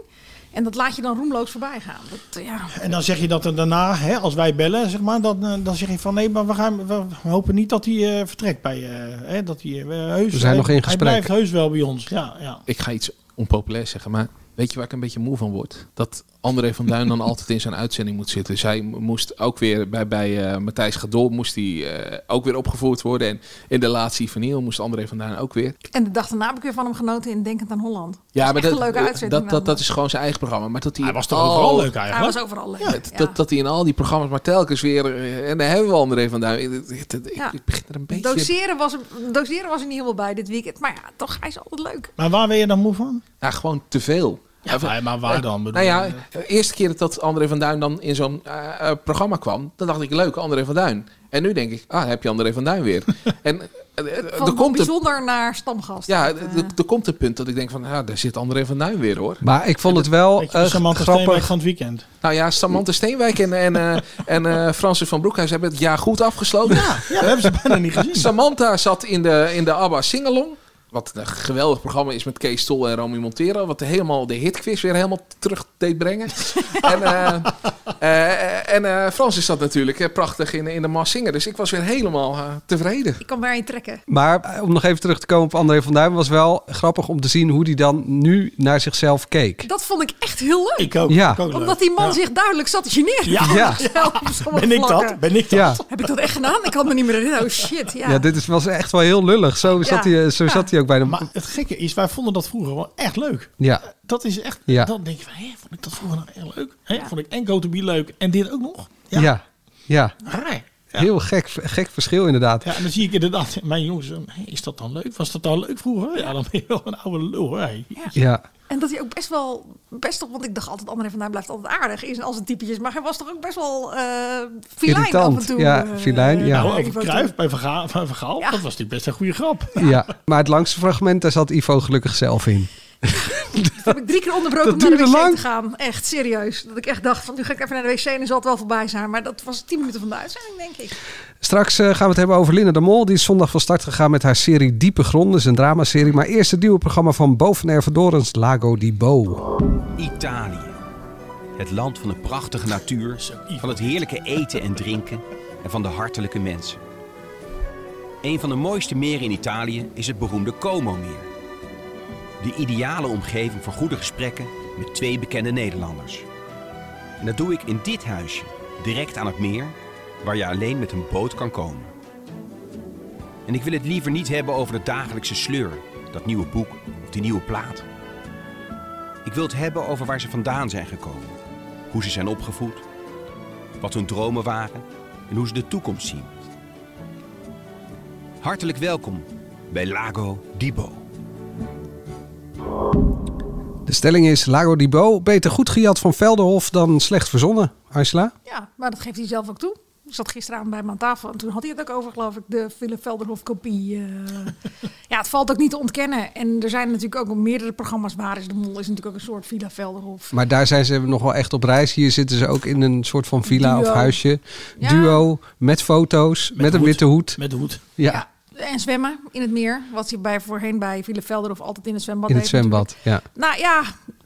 D: En dat laat je dan roemloos voorbij gaan. Dat, ja.
E: En dan zeg je dat er daarna, hè, als wij bellen, zeg maar, dan, eh, dan zeg je van nee, maar we, gaan, we hopen niet dat hij eh, vertrekt bij eh, hè, dat hij, eh, heus,
C: We zijn
E: hij-
C: nog in gesprek.
E: Hij blijft heus wel bij ons. Ja, ja.
K: Ik ga iets onpopulairs zeggen. Maar weet je waar ik een beetje moe van word? Dat André van Duin dan altijd in zijn uitzending moet zitten. Dus hij moest ook weer bij, bij eh, Matthijs Gadol moest hij, eh, ook weer opgevoerd worden. En in de laatste Ivanil moest André van Duin ook weer.
D: En de dag daarna heb ik weer van hem genoten in Denkend aan Holland.
K: Ja,
D: Dat
K: maar
D: is echt
K: dat,
D: een leuke uitzending
K: dat, dat,
D: wel.
K: dat is gewoon zijn eigen programma. Maar dat hij,
E: Hij was toch
K: al-
E: ook
C: Oh.
E: wel leuk
D: Hij
E: eigenlijk.
D: was overal leuk.
K: Ja, dat, dat, dat hij in al die programma's maar telkens weer... eh, En daar hebben we André van Duin. Ik- Ik, ik- ik-
D: Ja.
K: ik begin er een beetje...
D: Doseren was, hem- doseren was er niet helemaal bij dit weekend. Maar ja, toch, hij is altijd leuk.
E: Maar waar ben je dan moe van?
K: Ja, gewoon te veel.
E: Ja, maar- maar
C: Eh,
E: waar dan? Bedoel
K: Nou ja,
E: je?
K: de eerste keer dat André van Duin dan in zo'n eh, eh, programma kwam... dan dacht ik, leuk, André van Duin. En nu denk ik, ah, heb je André van Duin weer. en eh, er,
D: Van
K: komt een,
D: bijzonder naar stamgast.
K: ja,
D: Dat, eh,
K: er, er komt een punt dat ik denk van, ja, daar zit André van Duin weer hoor.
C: Maar ik vond het wel
K: Beetje de
C: eh,
K: Samantha
C: grappig.
K: Steenwijk
E: van het weekend.
K: Nou ja, Samantha Steenwijk en, en, eh, en eh, Francis van Broekhuis hebben het jaar goed afgesloten. Ja,
E: we hebben ze bijna niet gezien.
K: Samantha zat in de, in de ABBA Singalong. Wat een geweldig programma is met Kees Tol en Romy Montero. Wat helemaal de hitquiz weer helemaal terug deed brengen. en eh, eh, en eh, Francis zat natuurlijk eh, prachtig in, in de Maas Singer. Dus ik was weer helemaal eh, tevreden.
D: ik kan maar je trekken.
C: Maar eh, om nog even terug te komen op André van Duin, was wel grappig om te zien hoe die dan nu naar zichzelf keek.
D: Dat vond ik echt heel leuk.
C: Ik ook, Ja. ik ook leuk.
D: Omdat die man
C: Ja.
D: zich duidelijk zat te generen.
C: Ja. Ja.
E: Ben ik dat? Ben ik dat?
C: Ja.
D: Heb ik dat echt gedaan? Ik had me niet meer herinneren. Oh shit, ja.
C: Ja, dit is, was echt wel heel lullig. Zo zat,
D: Ja.
C: hij, eh, zo
D: Ja.
C: zat hij ook bij de.
E: Maar het gekke is, wij vonden dat vroeger wel echt leuk.
C: ja.
E: Dat is echt,
C: Ja.
E: dan denk je van, hé, vond ik dat vroeger nou heel leuk? Hé, Vond ik en Go To Be leuk en dit ook nog?
C: Ja. ja,
E: Raar.
C: Heel gek, gek verschil inderdaad.
E: Ja, en dan zie ik inderdaad, mijn jongens, hé, is dat dan leuk? Was dat dan leuk vroeger? Ja, dan ben je wel een oude lul. hoor. Hé.
C: Ja.
D: En dat hij ook best wel, best op, want ik dacht altijd, André van Duin blijft altijd aardig in als een typetjes. Maar hij was toch ook best wel eh filijn
C: Irritant.
D: af en toe.
C: Ja,
D: eh,
C: filijn, ja.
E: Nou,
D: ik
E: over
D: wou
E: Cruijff
D: toen-
E: bij Vergaal, bij Vergaal dat was natuurlijk best een goede grap.
C: Ja. maar het langste fragment, daar zat Ivo gelukkig zelf in.
D: Dat heb ik drie keer onderbroken om
C: Dat
D: naar de wc
C: duurde lang.
D: te gaan. Echt, serieus. Dat ik echt dacht, van, nu ga ik even naar de wc en dan zal het wel voorbij zijn. Maar dat was tien minuten van de uitzending, denk ik.
C: Straks eh, gaan we het hebben over Linda de Mol. Die is zondag van start gegaan met haar serie Diepe Gronden. Dat is een dramaserie. Maar eerst het nieuwe programma van Bo van Ervedorens, Lago di Bo.
L: Italië. Het land van de prachtige natuur, van het heerlijke eten en drinken en van de hartelijke mensen. Een van de mooiste meren in Italië is het beroemde Como-meer. De ideale omgeving voor goede gesprekken met twee bekende Nederlanders. En dat doe ik in dit huisje, direct aan het meer, waar je alleen met een boot kan komen. En ik wil het liever niet hebben over de dagelijkse sleur, dat nieuwe boek of die nieuwe plaat. Ik wil het hebben over waar ze vandaan zijn gekomen. Hoe ze zijn opgevoed. Wat hun dromen waren. En hoe ze de toekomst zien. Hartelijk welkom bij Lago Dibo.
C: De stelling is Lago di Bo, beter goed gejat van Velderhof dan slecht verzonnen. Aisla?
D: Ja, maar dat geeft hij zelf ook toe. Ik zat gisteravond bij hem aan tafel en toen had hij het ook over, geloof ik, de Philip Velderhof kopie. eh. ja, het valt ook niet te ontkennen. En er zijn natuurlijk ook meerdere programma's. Waar is de Mol is natuurlijk ook een soort Villa Velderhof.
C: Maar daar zijn ze nog wel echt op reis. Hier zitten ze ook in een soort van villa
D: Duo.
C: of huisje.
D: Ja.
C: Duo, met foto's, met, een witte hoed.
E: Met de hoed.
C: Ja,
D: En zwemmen in het meer. Wat je bij, voorheen bij Ville Velderhof altijd in het zwembad
C: in het
D: deed natuurlijk.
C: zwembad. Ja.
D: Nou ja,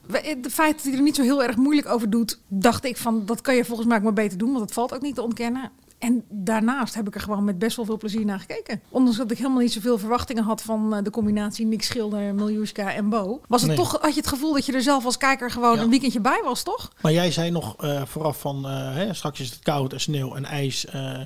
D: we- het feit dat hij er niet zo heel erg moeilijk over doet, dacht ik van dat kan je volgens mij ook maar beter doen, want dat valt ook niet te ontkennen. En daarnaast heb ik er gewoon met best wel veel plezier naar gekeken. Ondanks dat ik helemaal niet zoveel verwachtingen had van eh, de combinatie Nick Schilder, Miljuska en Bo. Was het
E: Nee.
D: toch, had je het gevoel dat je er zelf als kijker gewoon een weekendje bij was, toch?
E: Maar jij zei nog eh, vooraf van, eh, hè, straks is het koud en sneeuw en ijs. eh,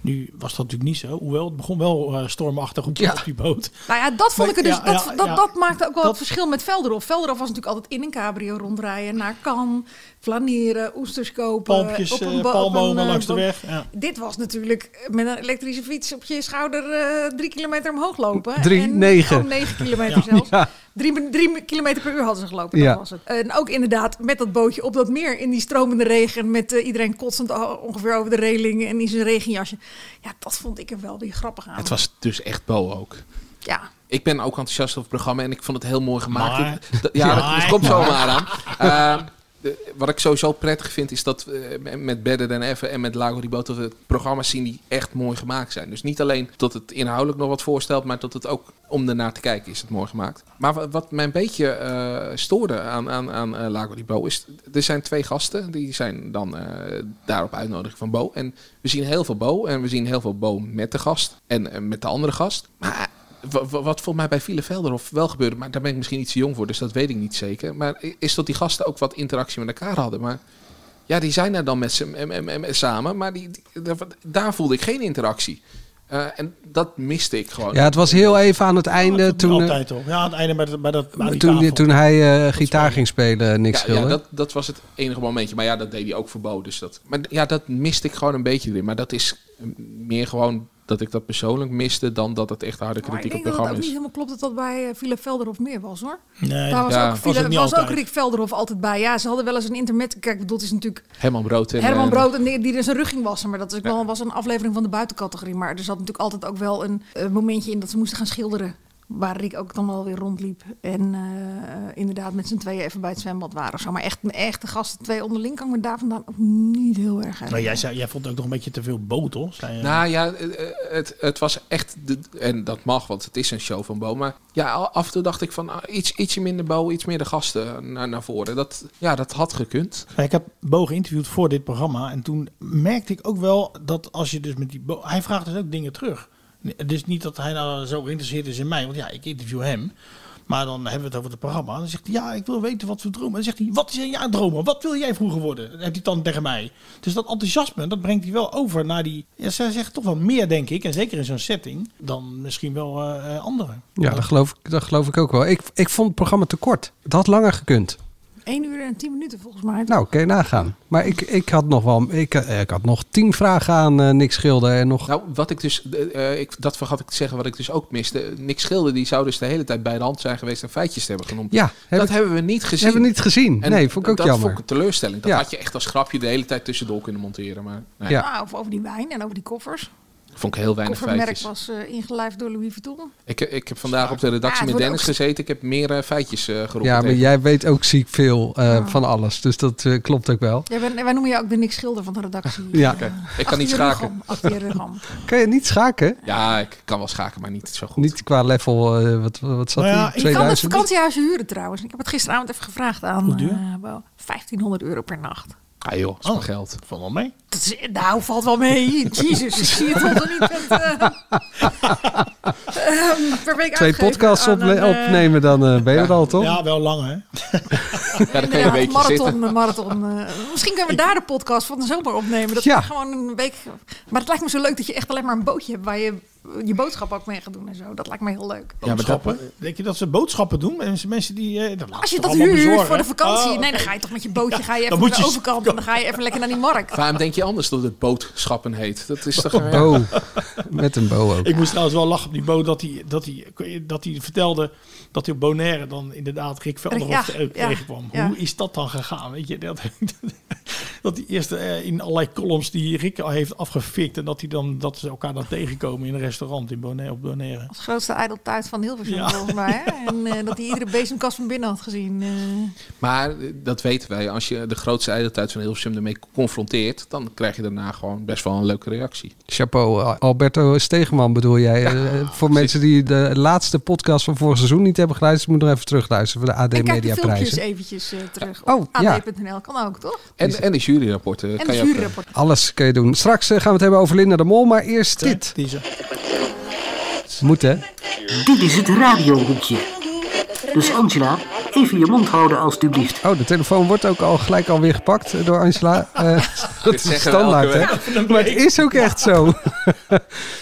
E: nu was dat natuurlijk niet zo. Hoewel, het begon wel eh, stormachtig op die, op die boot.
D: Nou ja, dat vond
E: Maar
D: ik er dus.
E: ja,
D: dat,
E: ja,
D: dat,
E: ja.
D: dat maakte ook wel het
E: Dat-
D: verschil met Velderhof. Velderhof was natuurlijk altijd in een cabrio rondrijden, naar Cannes, flaneren, oesters kopen.
E: Palmpjes,
D: op
E: eh,
D: bo- op
E: palmbomen
D: een, eh,
E: langs de
D: bo-
E: weg, ja.
D: Dit was natuurlijk met een elektrische fiets op je schouder eh, drie kilometer omhoog lopen.
C: Drie,
D: en,
C: negen.
D: Oh, negen kilometer zelfs.
C: Ja.
D: Drie, drie kilometer per uur hadden ze gelopen,
C: Ja.
D: dat was het. En ook inderdaad met dat bootje op dat meer in die stromende regen... met eh, iedereen kotsend o- ongeveer over de reling en in zijn regenjasje. Ja, dat vond ik er wel weer grappig aan.
K: Het was dus echt Bo ook.
D: Ja,
K: Ik ben ook enthousiast over het programma en ik vond het heel mooi gemaakt.
E: Maar-
K: Ik- dat- ja, dat, dat
E: Maar-
K: komt zomaar
E: Maar-
K: aan. Eh, de- wat ik sowieso prettig vind is dat we, eh, met Better Than Ever en met Lago Ribot dat we programma's zien die echt mooi gemaakt zijn. Dus niet alleen dat het inhoudelijk nog wat voorstelt, maar dat het ook om ernaar te kijken is het mooi gemaakt. Maar wa- wat mij een beetje eh, stoorde aan, aan, aan eh, Lago Ribot is, er zijn twee gasten die zijn dan eh, daarop uitnodigen van Bo. En we zien heel veel Bo en we zien heel veel Bo met de gast en eh, met de andere gast. Maar Wa- wa- Wat volgens mij bij Viele Velderhof wel gebeurde, maar daar ben ik misschien iets te jong voor, dus dat weet ik niet zeker. Maar i- is dat die gasten ook wat interactie met elkaar hadden? Maar ja, die zijn er dan met z'n- em- em- em- samen, maar die, die- daar, daar voelde ik geen interactie. Eh, en dat miste ik gewoon.
C: ja, het was heel even aan het einde toen, eh,
E: Altijd al. Ja, aan het einde bij, dat- bij dat bij die
C: toen,
E: tafel.
C: toen hij eh, gitaar ging spelen, niks
K: ja, ja
C: schilder.
K: dat, dat was het enige momentje. Maar ja, dat deed hij ook voor Bo. Dus dat, maar ja, dat miste ik gewoon een beetje erin. Maar dat is mm, meer gewoon dat ik dat persoonlijk miste dan dat het echt harde
D: Maar ik
K: kritiek op
D: denk
K: het
D: dat het ook
K: programma
D: niet
K: is.
D: helemaal klopt dat dat bij eh, Philip Velderhof meer was hoor.
K: Nee,
D: Daar was,
K: ja.
D: ook,
K: Was het
D: Philip,
K: niet
D: was ook
K: altijd.
D: Rick Velderhof altijd bij. Ja, ze hadden wel eens een internet. Kijk, ik bedoel, het is natuurlijk
K: Herman Brood. En,
D: Herman
K: eh,
D: Brood en die, die er zijn rugging was. Maar dat is ook
K: Ja.
D: wel, was een aflevering van de buitencategorie. Maar er zat natuurlijk altijd ook wel een eh, momentje in dat ze moesten gaan schilderen. Waar Rick ook dan wel weer rondliep. En eh, inderdaad met z'n tweeën even bij het zwembad waren. of Zo. Maar echt een echte gasten, twee onderling, kan ik me daar vandaan ook niet heel erg uit.
E: Maar jij, zei, jij vond ook nog een beetje te veel botel. Zei, je.
K: Nou ja, eh, eh, het, het was echt. De, en dat mag, want het is een show van Bo. Maar ja, al- af en toe dacht ik van ah, iets, ietsje minder Bo, iets meer de gasten naar, naar voren. Dat, ja, dat had gekund.
E: Ja, Nou, Ik heb Bo geïnterviewd voor dit programma. En toen merkte ik ook wel dat als je dus met die Bo... Hij vraagt dus ook dingen terug. Nee, Het is niet dat hij nou zo geïnteresseerd is in mij. Want ja, ik interview hem. Maar dan hebben we het over het programma. En dan zegt hij, ja, ik wil weten wat we dromen. En dan zegt hij, wat is jouw dromen? Wat wil jij vroeger worden? Dat heeft hij dan tegen mij. Dus dat enthousiasme, dat brengt hij wel over naar die... Ja, zij zegt toch wel meer, denk ik. En zeker in zo'n setting, dan misschien wel eh, eh, anderen.
C: Ja, dat geloof ik, dat geloof ik ook wel. Ik, ik vond het programma te kort. Het had langer gekund.
D: 1 uur en 10 minuten volgens mij.
C: Nou, kun je nagaan. Maar ik, ik had nog wel. Ik, eh, ik had nog tien vragen aan eh Nick Schilder en nog.
K: Nou, wat ik dus, eh, eh, ik, dat vergat ik te zeggen, wat ik dus ook miste. Nick Schilder, die zou dus de hele tijd bij de hand zijn geweest en feitjes te hebben genoemd.
C: Ja, heb
K: dat
C: ik-
K: hebben we niet gezien.
C: hebben we niet gezien. Nee, vond ik ook
K: dat
C: jammer.
K: vond ik een teleurstelling. Dat
C: Ja.
K: had je echt als grapje de hele tijd tussendoor kunnen monteren. Maar nee,
D: Ah, of over die wijn en over die koffers.
K: vond ik heel weinig
D: Koffermerk
K: feitjes.
D: was eh, ingelijfd door Louis Vuitton.
K: Ik, ik heb vandaag op de redactie
D: Ja, het
K: met
D: wordt
K: Dennis
D: ook-
K: gezeten. Ik heb meer eh, feitjes eh, geroepen.
C: Ja, maar
K: tegen
C: jij weet ook ziek veel eh, van alles. Dus dat eh, klopt ook wel.
D: Jij bent, wij noemen je ook de Nick Schilder van de redactie.
C: Ja.
D: Eh,
C: Oké, ik kan
D: achter
K: niet
D: je rug
K: schaken.
D: om, Achter je rug om.
C: Kan je niet schaken?
K: Ja, ik kan wel schaken, maar niet zo goed.
C: Niet qua level. eh, wat, wat zat
K: Nou ja,
C: die?
K: ik
D: Je kan het
C: 2000?
D: vakantiehuis huren trouwens. Ik heb het gisteravond even gevraagd aan
K: Hoe duur?
D: eh, Bo. 1500 euro per nacht.
K: Ah joh, dat is mijn geld.
E: Valt wel mee.
D: Dat is, nou, valt wel mee. Jezus, ik zie het toch niet met... eh, ehm, per week
C: Twee
D: uitgeven
C: podcasts
D: aan
C: op,
D: een, eh,
C: opnemen, dan eh, ben je er al, toch?
E: Ja, wel lang, hè?
K: Ja, dan kun je een
D: inderdaad,
K: weekje
D: marathon,
K: zitten.
D: marathon. eh, misschien kunnen we daar de podcast van de zomer opnemen. Dat
K: Ja.
D: we gewoon een week. Maar het lijkt me zo leuk dat je echt alleen maar een bootje hebt waar je je boodschap ook mee gaat doen en zo. Dat lijkt me heel leuk.
E: Boodschappen. Denk je dat ze boodschappen doen? Mensen, mensen die... eh, dat laten
D: Als
E: ze
D: je
E: toch
D: dat
E: allemaal
D: huurt
E: bezorgen?
D: voor de vakantie,
E: Oh,
D: nee, dan ga je toch met je bootje ga je even
E: dan moet
D: naar de
E: je-
D: overkant en dan ga je even lekker naar die markt.
K: Waarom denk je anders dat het boodschappen heet? Dat is toch...
C: Bo. Oh, Met een bo ook.
E: Ik moest trouwens wel lachen op die Bo dat hij, dat hij, dat hij vertelde dat hij op Bonaire dan inderdaad Rick Velderhoff
D: Ja,
E: te-
D: ja,
E: tegenkwam.
D: ja.
E: Hoe is dat dan gegaan? Weet je, dat, dat die eerst eh, in allerlei columns die Rick al heeft afgefikt en dat, hij dan, dat ze elkaar dan tegenkomen in een restaurant in Bonaire, op Bonaire.
D: Als grootste ijdeltuit van Hilversum
E: Ja.
D: volgens mij. Hè? En eh, dat hij iedere bezemkast van binnen had gezien. eh.
K: Maar eh, dat weten wij. Als je de grootste ijdeltijd van Hilversum ermee confronteert... dan krijg je daarna gewoon best wel een leuke reactie.
C: Chapeau, eh, Alberto Stegeman bedoel jij. Eh, eh, voor mensen die de laatste podcast van vorig seizoen niet hebben geluisterd, moeten er even terugluisteren voor de AD
D: En kijk de
C: Media
D: filmpjes
C: Prijzen.
D: eventjes eh, terug op
C: Oh, ja.
D: ad.nl. Kan ook, toch?
K: En, en de juryrapporten.
D: En
K: kan
D: de
K: je ook, eh,
D: juryrapport.
C: Alles kun je doen. Straks eh, gaan we het hebben over Linda de Mol, maar eerst dit. Moet hè?
M: Dit is het radiohoekje. Dus Angela, even je mond houden alstublieft.
C: Oh, de telefoon wordt ook al gelijk alweer gepakt eh, door Angela. Eh, dat is
K: zeggen we
C: standaard,
K: elke
C: hè? Maar het is ook echt zo.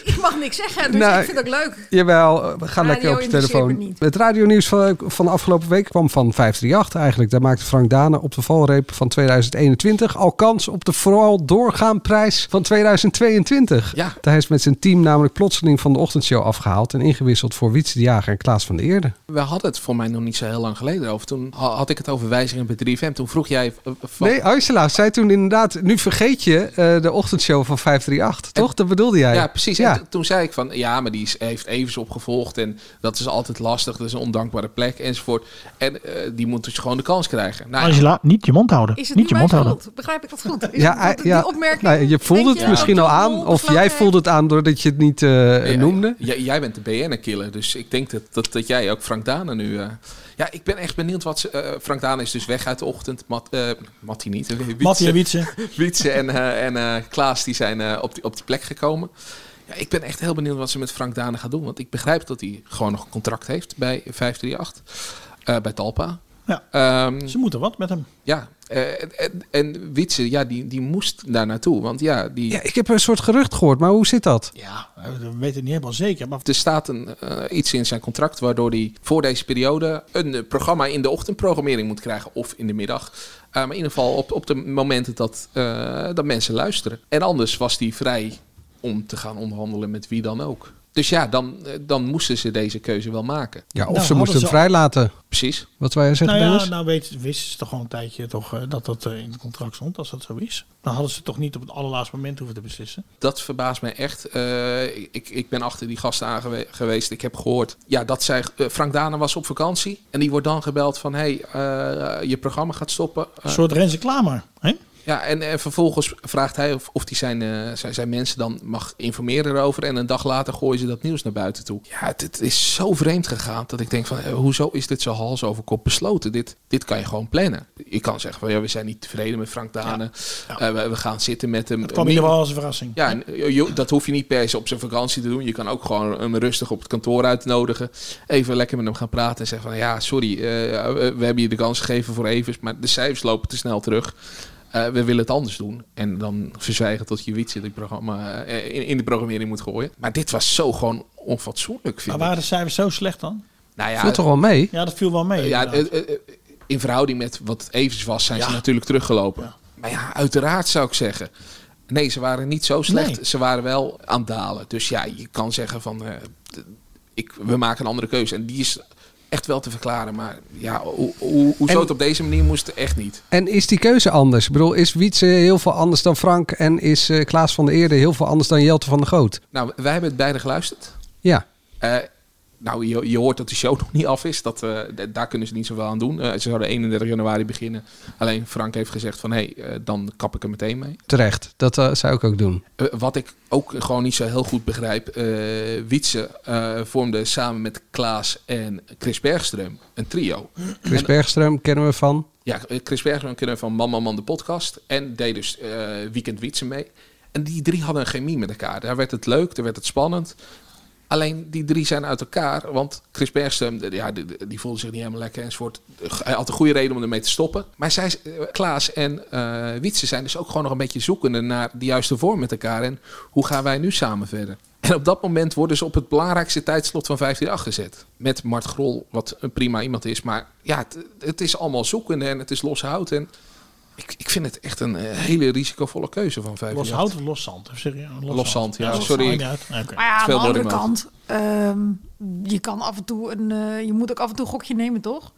D: Ik mag niks zeggen, dus
C: Nou,
D: ik vind het ook leuk.
C: Jawel, eh, we gaan
D: Radio
C: lekker op je
D: interesseert me
C: telefoon.
D: niet.
C: Het radionieuws van, eh, van de afgelopen week kwam van 538 eigenlijk. Daar maakte Frank Dane op de valreep van 2021 al kans op de vooral doorgaan prijs van 2022.
K: Ja.
C: Daar is met zijn team namelijk plotseling van de ochtendshow afgehaald en ingewisseld voor Wietse de Jager en Klaas van de Eerde.
K: We hadden het voor mij nog niet zo heel lang geleden over. Toen ha- had ik het over wijzigingen bij 3FM. Toen vroeg jij... eh, van-
C: Nee, Ursula zei toen inderdaad, nu vergeet je eh, de ochtendshow van 538, toch? Dat bedoelde jij?
K: Ja, precies.
C: Ja.
K: En t- toen zei ik van, ja, maar die is, heeft Evers opgevolgd en dat is altijd lastig. Dat is een ondankbare plek enzovoort. En eh, die moet dus gewoon de kans krijgen. Nou, ja.
E: Angela, niet je mond houden.
D: Is het
E: niet je
D: nu
E: mond
D: mijn
E: houden.
D: schuld? Begrijp ik dat goed? Is
C: Ja,
D: het- dat-
C: eh, ja.
D: die opmerking?
C: Nou, je voelde
D: Denk
C: het
D: je
C: misschien
D: dat
C: al
D: de
C: aan,
D: mol
C: of
D: beslag
C: jij
D: heeft?
C: voelde het aan doordat je het niet eh, noemde.
K: J- jij bent de BN'er-killer, dus ik denk dat, dat, dat jij ook Frank Dane nu... eh, ja, ik ben echt benieuwd wat ze... eh, Frank Dane is dus weg uit de ochtend. Mat, eh, Mattie niet. eh, Wietse.
E: Mattie en Wietse.
K: Wietse en, eh, en eh, Klaas die zijn eh, op, die, op die plek gekomen. Ja, ik ben echt heel benieuwd wat ze met Frank Dane gaan doen. Want ik begrijp dat hij gewoon nog een contract heeft bij 538. eh, bij Talpa.
E: Ja.
K: Ehm,
E: Ze moeten wat met hem.
K: ja, eh, en, en, en Witse, ja, die, die moest daar naartoe. Want ja, die,
C: Ja, ik heb een soort gerucht gehoord, maar hoe zit dat?
E: Ja, we weten het niet helemaal zeker. Maar
K: er staat een, eh, iets in zijn contract waardoor hij voor deze periode een eh, programma in de ochtendprogrammering moet krijgen of in de middag. Eh, maar in ieder geval op, op de momenten dat, eh, dat mensen luisteren. En anders was hij vrij om te gaan onderhandelen met wie dan ook. Dus ja, dan, eh, dan moesten ze deze keuze wel maken.
C: Ja, of ze moesten hem vrijlaten.
K: Precies.
C: Wat wij zeggen,
E: nou ja,
C: Dennis?
E: nou weet, wisten ze toch gewoon een tijdje toch, eh, dat dat eh, in het contract stond, als dat zo is. Dan hadden ze toch niet op het allerlaatste moment hoeven te beslissen.
K: Dat verbaast mij echt. Eh, ik, ik ben achter die gasten aan gewe- geweest. Ik heb gehoord ja, dat zij, eh, Frank Dana was op vakantie. En die wordt dan gebeld van... hey, eh, je programma gaat stoppen.
E: Een
K: Eh,
E: soort Renze Klamer. Hè?
K: Ja, en, eh, vervolgens vraagt hij of, of hij zijn, eh, zijn, zijn mensen dan mag informeren erover. En een dag later gooien ze dat nieuws naar buiten toe. Ja, het, het is zo vreemd gegaan dat ik denk van... eh, hoezo is dit zo hals over kop besloten? Dit, dit kan je gewoon plannen. Je kan zeggen van ja, we zijn niet tevreden met Frank Dane. Eh, we, we gaan zitten met hem.
E: Het kwam in ieder geval als een verrassing.
K: Ja, en, eh, joh, dat hoef je niet per se op zijn vakantie te doen. Je kan ook gewoon hem rustig op het kantoor uitnodigen. Even lekker met hem gaan praten en zeggen van... Ja, sorry, eh, eh, we hebben je de kans gegeven voor even, maar de cijfers lopen te snel terug. Eh, we willen het anders doen. En dan verzwijgen tot je wiets in, het programma, eh, in, in de programmering moet gooien. Maar dit was zo gewoon onfatsoenlijk, vind
E: Maar
K: ik.
E: waren de cijfers zo slecht dan?
K: Nou ja,
C: mee?
E: Ja, dat viel wel mee.
K: eh, ja,
E: inderdaad.
K: eh, eh, eh, in verhouding met wat het evens was, zijn ze natuurlijk teruggelopen. Maar ja, uiteraard zou ik zeggen. Nee, ze waren niet zo slecht. Ze waren wel aan het dalen. Dus ja, je kan zeggen van... eh, d- ik, we maken een andere keuze. En die is echt wel te verklaren. Maar ja, hoe, hoe, hoezo
C: En-
K: het op deze manier moest, echt niet.
C: En is die keuze anders? Ik bedoel, is Wietse heel veel anders dan Frank? En is eh, Klaas van der Eerde heel veel anders dan Jelte van der Goot?
K: Nou, wij hebben het beide geluisterd.
C: Ja.
K: Eh, nou, je, je hoort dat de show nog niet af is. Dat, eh, d- daar kunnen ze niet zoveel aan doen. Eh, ze zouden 31 januari beginnen. Alleen Frank heeft gezegd van... hé, hey, eh, dan kap ik er meteen mee.
C: Terecht. Dat eh, zou ik ook doen.
K: Eh, wat ik ook gewoon niet zo heel goed begrijp. eh Wietse eh, vormde samen met Klaas en Chris Bergström een trio.
C: Chris Bergström kennen we van.
K: Ja, eh, Chris Bergström kennen we van Man Man Man de podcast. En deed dus eh, Weekend Wietse mee. En die drie hadden een chemie met elkaar. Daar werd het leuk, daar werd het spannend. Alleen die drie zijn uit elkaar. Want Chris Bergström, eh, ja, die, die voelde zich niet helemaal lekker enzovoort. Hij had een goede reden om ermee te stoppen. Maar zij, is- eh, Klaas en eh Wietse zijn dus ook gewoon nog een beetje zoekende naar de juiste vorm met elkaar. En hoe gaan wij nu samen verder? En op dat moment worden ze op het belangrijkste tijdslot van 15 gezet. Met Mart Grol, wat een prima iemand is. Maar ja, het, het is allemaal zoekende en het is los hout. En ik, ik vind het echt een eh, hele risicovolle keuze van 15
E: Los hout of los zand? Of zeg je, eh,
K: Los zand, ja,
E: los
K: sorry.
E: zand, ja, oké.
D: Maar ja, aan de
K: Veel
D: andere
K: doorheen,
D: kant, ehm, je kan af en toe een, eh, je moet ook af en toe een gokje nemen, toch?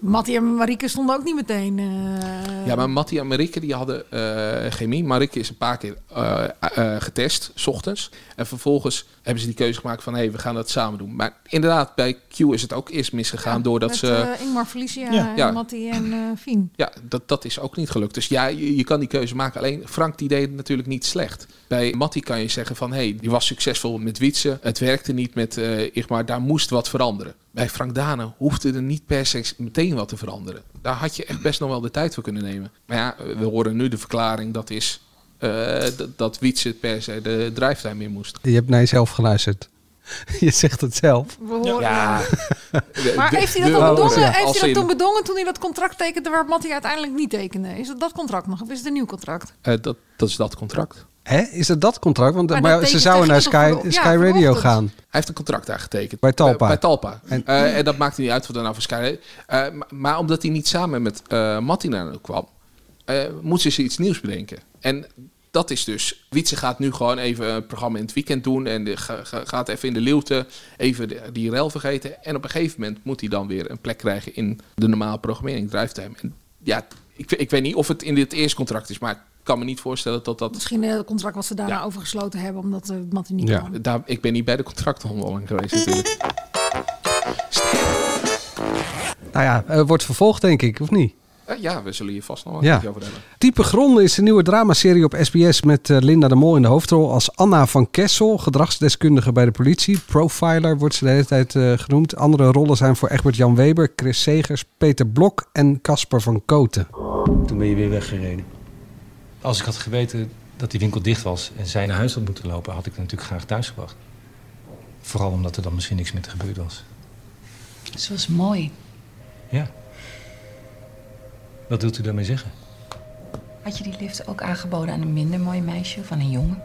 D: Mattie en Marieke stonden ook niet meteen. eh,
K: Ja, maar Mattie en Marieke die hadden eh, chemie. Marieke is een paar keer eh, eh, getest, s ochtends. En vervolgens hebben ze die keuze gemaakt van... hé, hey, we gaan dat samen doen. Maar inderdaad, bij Q is het ook eerst misgegaan... doordat
D: met
K: ze...
D: eh, Ingmar Felicia
K: Ja.
D: en
K: Ja.
D: Mattie en eh, Fien.
K: Ja, dat, dat is ook niet gelukt. Dus ja, je, je kan die keuze maken. Alleen Frank die deed het natuurlijk niet slecht. Bij Matty kan je zeggen van... hé, hey, die was succesvol met Wietse. Het werkte niet met eh Igmar. Daar moest wat veranderen. Bij Frank Dane hoefde er niet per se meteen wat te veranderen. Daar had je echt best nog wel de tijd voor kunnen nemen. Maar ja, we horen nu de verklaring dat is... eh, dat- dat Wietse per se de drijftime in moest.
C: Je hebt naar jezelf geluisterd. Je zegt het zelf.
D: We horen-
N: Ah,
K: De-
D: Maar
K: de-
D: heeft hij dat,
C: de-
D: al
C: oh,
D: bedongen,
C: ja.
D: heeft
K: Als
D: hij
K: in-
D: dat toen bedongen toen hij dat contract tekende waar Mattie uiteindelijk niet tekende? Is het dat contract nog of is het een nieuw contract?
K: eh, dat, dat is dat contract.
C: Hè? Is het dat contract? Want
D: Maar
C: maar
D: dat
C: ze
D: tekent
C: zouden naar
D: tegen
C: Sky,
D: toch wel- ja,
C: Sky Radio
D: vanochtend.
C: gaan.
K: Hij heeft een contract daar getekend.
C: Bij Talpa.
K: Bij, bij Talpa. Eh,
C: En-
K: En, dat maakte niet uit wat er nou voor Sky... eh, maar, maar omdat hij niet samen met eh Matti naar naartoe kwam... eh moesten ze iets nieuws bedenken. En dat is dus... Wietse gaat nu gewoon even een programma in het weekend doen... en de- ga- ga- gaat even in de leeuwte even de- die rel vergeten. En op een gegeven moment moet hij dan weer een plek krijgen... in de normale programmering, Drivetime. En ja, ik, ik weet niet of het in dit eerste contract is... maar ik kan me niet voorstellen dat dat...
D: Misschien eh, het contract wat ze daarna overgesloten hebben omdat eh, Mattie niet kwam.
K: Daar, ik ben niet bij de contractonderhandeling geweest natuurlijk.
C: Nou ja, eh, wordt vervolgd denk ik, of niet?
K: Eh, ja, we zullen hier vast nog wel
C: Ja.
K: iets over hebben.
C: Diepe Gronden is de nieuwe dramaserie op SBS met eh, Linda de Mol in de hoofdrol als Anna van Kessel, gedragsdeskundige bij de politie. Profiler wordt ze de hele tijd eh, genoemd. Andere rollen zijn voor Egbert Jan Weber, Chris Segers, Peter Blok en Casper van Koten.
N: Toen ben je weer weggereden. Als ik had geweten dat die winkel dicht was en zij naar huis had moeten lopen, had ik haar natuurlijk graag thuis gebracht. Vooral omdat er dan misschien niks meer te gebeurd was.
J: Ze was mooi.
N: Wat wilt u daarmee zeggen?
J: Had je die liefde ook aangeboden aan een minder mooi meisje van een jongen?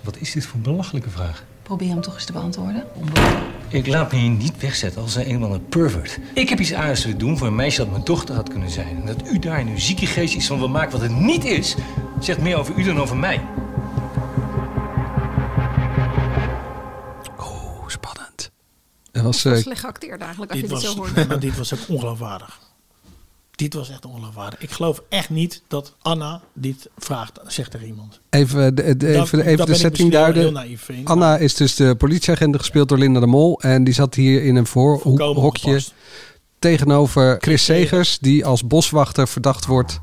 N: Wat is dit voor een belachelijke vraag?
J: Probeer hem toch eens te beantwoorden.
N: Ik laat me hier niet wegzetten als een eenmaal een pervert. Ik heb iets aardigs te doen voor een meisje dat mijn dochter had kunnen zijn. En dat u daar nu zieke geest iets van wil maken wat het niet is, zegt meer over u dan over mij.
C: was...
D: Dat
C: eh,
D: is slecht geacteerd eigenlijk, als
E: Dit
D: je dit
E: was,
D: zo hoort.
E: maar dit was ook ongeloofwaardig. Dit was echt ongeloofwaardig. Ik geloof echt niet dat Anna dit vraagt, zegt er iemand.
C: Even de, de-
E: Dan-
C: even,
E: dan
C: even
E: ben
C: de
E: ik
C: setting
E: misschien heel
C: duiden.
E: naïef in, maar-
C: Anna is dus de politieagent gespeeld door Linda de Mol. En die zat hier in een voorhokje tegenover Chris Segers. Die als boswachter verdacht wordt.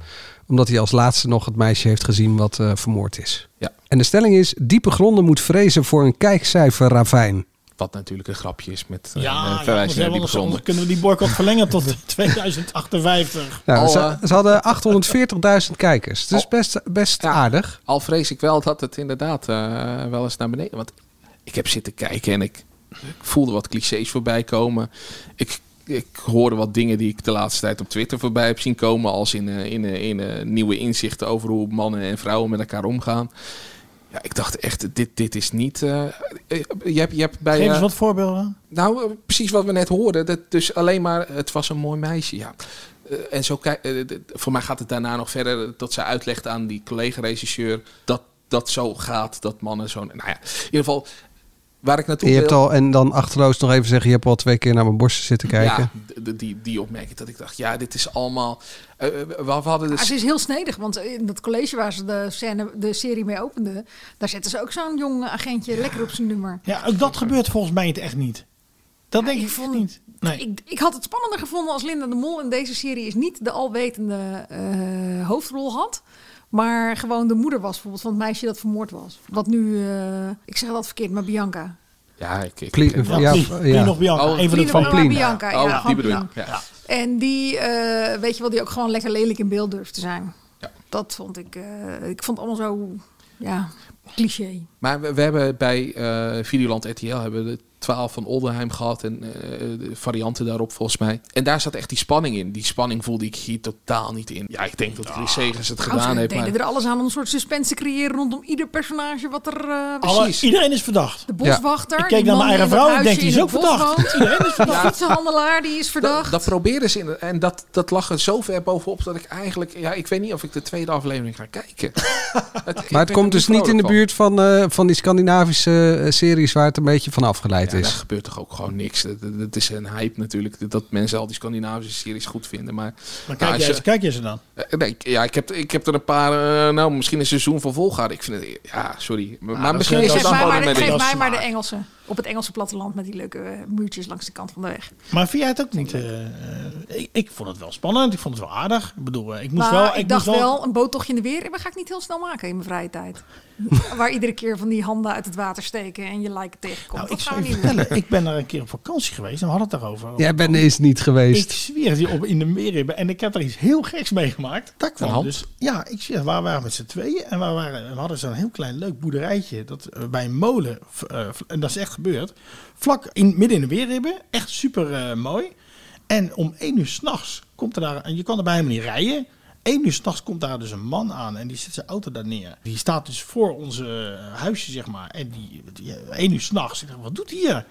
C: Omdat hij als laatste nog het meisje heeft gezien wat eh, vermoord is.
K: Ja.
C: En de stelling is, diepe gronden moet vrezen voor een kijkcijferravijn.
K: Wat natuurlijk een grapje is met eh,
E: Ja,
K: eh,
E: ja,
K: verwijzing
E: anders,
K: naar die
E: hebben we- anders
K: begonnen.
E: kunnen we die boycott verlengen tot 2058.
C: Nou,
K: Al,
C: ze,
K: eh,
C: ze hadden 840.000 kijkers. Het is best, best aardig.
K: Al vrees ik wel dat het inderdaad eh, wel eens naar beneden. Want ik heb zitten kijken en ik, ik voelde wat clichés voorbij komen. Ik, ik hoorde wat dingen die ik de laatste tijd op Twitter voorbij heb zien komen. Als in, eh, in, eh, in eh, nieuwe inzichten over hoe mannen en vrouwen met elkaar omgaan. Ja, ik dacht echt, dit, dit is niet. eh, eh, je hebt, je hebt bij.
E: Geef
K: eh,
E: eens wat voorbeelden.
K: nou, eh, precies wat we net hoorden. Dat dus alleen maar, het was een mooi meisje, ja. Eh, en zo kijk, eh, d- voor mij gaat het daarna nog verder eh, dat zij uitlegt aan die collega-regisseur dat dat zo gaat, dat mannen zo. Nou ja, in ieder geval waar ik naartoe
C: En, je hebt
K: wil-
C: al, en dan achterloos nog even zeggen, je hebt al twee keer naar mijn borsten zitten kijken.
K: Ja, d- d- die, die opmerking dat ik dacht, ja, dit is allemaal. eh, we, we hadden
D: Ah,
K: dus.
D: ze is heel snedig, want in dat college waar ze de, scène, de serie mee opende, daar zetten ze ook zo'n jong agentje lekker op zijn nummer.
E: Ja, ook dat gebeurt volgens mij het echt niet. Dat denk ik, vond niet. Nee.
D: Ik, ik had het spannender gevonden als Linda de Mol in deze serie is niet de alwetende eh, hoofdrol had. Maar gewoon de moeder was bijvoorbeeld van het meisje dat vermoord was. Wat nu, eh, ik zeg dat verkeerd, maar Bianca.
K: Ja, ik. ik
C: Pli- ja, ja. Plien of Bianca, een van de
D: Plien of
C: twee.
D: Bianca, ja,
K: Oh,
D: van
K: die bedoel
D: Plien.
K: ik. Ja.
D: En die, eh, weet je wel, die ook gewoon lekker lelijk in beeld durft te zijn. Dat vond ik, eh, ik vond het allemaal zo, ja, cliché.
K: Maar we, we hebben bij eh Videoland RTL hebben we de 12 van Oldenheim gehad en eh, de varianten daarop volgens mij. En daar zat echt die spanning in. Die spanning voelde ik hier totaal niet in. Ja, ik denk dat Chris Segers het
D: Nou,
K: gedaan
D: ze
K: heeft.
D: deden
K: Maar
D: er alles aan om een soort suspense te creëren rondom ieder personage wat er... eh,
E: Alle- iedereen is verdacht.
D: De boswachter.
E: Ja. Ik keek
D: die
E: naar mijn
D: man in dat
E: eigen vrouw. Ik denk, die is ook
D: huisje in het bos
E: verdacht.
D: woont.
E: Iedereen is verdacht.
D: De fietsenhandelaar, die is verdacht.
K: dat, dat probeerden ze in, en dat, dat lag er zo ver bovenop dat ik eigenlijk, ja, ik weet niet of ik de tweede aflevering ga kijken.
C: Maar het komt dus niet in de buurt van, eh, van die Scandinavische eh, series waar het een beetje van afgeleid
K: Ja, daar
C: is.
K: gebeurt toch ook gewoon niks. Het- Het het is een hype natuurlijk dat- dat mensen al die Scandinavische series goed vinden. Maar,
E: Maar
K: Nou,
E: kijk,
K: als
E: jij,
K: je-
E: kijk jij ze dan?
K: Eh, nee, ik- ja, ik heb, ik heb er een paar, eh, nou, misschien een seizoen van volgehouden. Ik vind het, ja, sorry. Maar, maar
E: dat
K: misschien
E: is-
K: is
E: dat
K: het
E: is
K: dan
E: mij
K: gewoon
E: maar-
K: een
E: dat
K: mening.
D: Geef mij
E: smaak.
D: maar de Engelsen. Op het Engelse platteland met die leuke eh, muurtjes langs de kant van de weg.
E: Maar vind jij het ook niet? eh, eh, ik, ik vond het wel spannend. Ik vond het wel aardig. Ik bedoel, eh, ik moest
D: maar
E: wel. Nou,
D: ik,
E: moest
D: dacht wel, een boottochtje in de weer, dat ga ik niet heel snel maken in mijn vrije tijd. Waar iedere keer van die handen uit het water steken en je lijken tegenkomt.
E: Nou,
D: dat
E: ik
D: gaan
E: zou
D: we
E: je
D: niet doen.
E: vertellen. Ik ben daar een keer op vakantie geweest. En we hadden het daarover.
C: Jij bent eens niet
E: Ik
C: geweest.
E: zweer die op in de meren. En ik heb er iets heel geks meegemaakt. Dat
K: Een
E: kwam
K: hand?
E: dus. Ja, ik zweer, waar waren we met z'n tweeën? En waar waren, we hadden zo'n heel klein leuk boerderijtje. Dat, eh, bij een molen. v- eh, v- en dat is echt gebeurd. Vlak in, midden in de weerribben. Echt super eh, mooi. En om één uur s'nachts komt er daar. En je kan er bij helemaal niet rijden. Eén uur s'nachts komt daar dus een man aan en die zet zijn auto daar neer. Die staat dus voor onze eh, huisje, zeg maar. En die, die één uur s'nachts. Ik dacht, wat doet hij hier?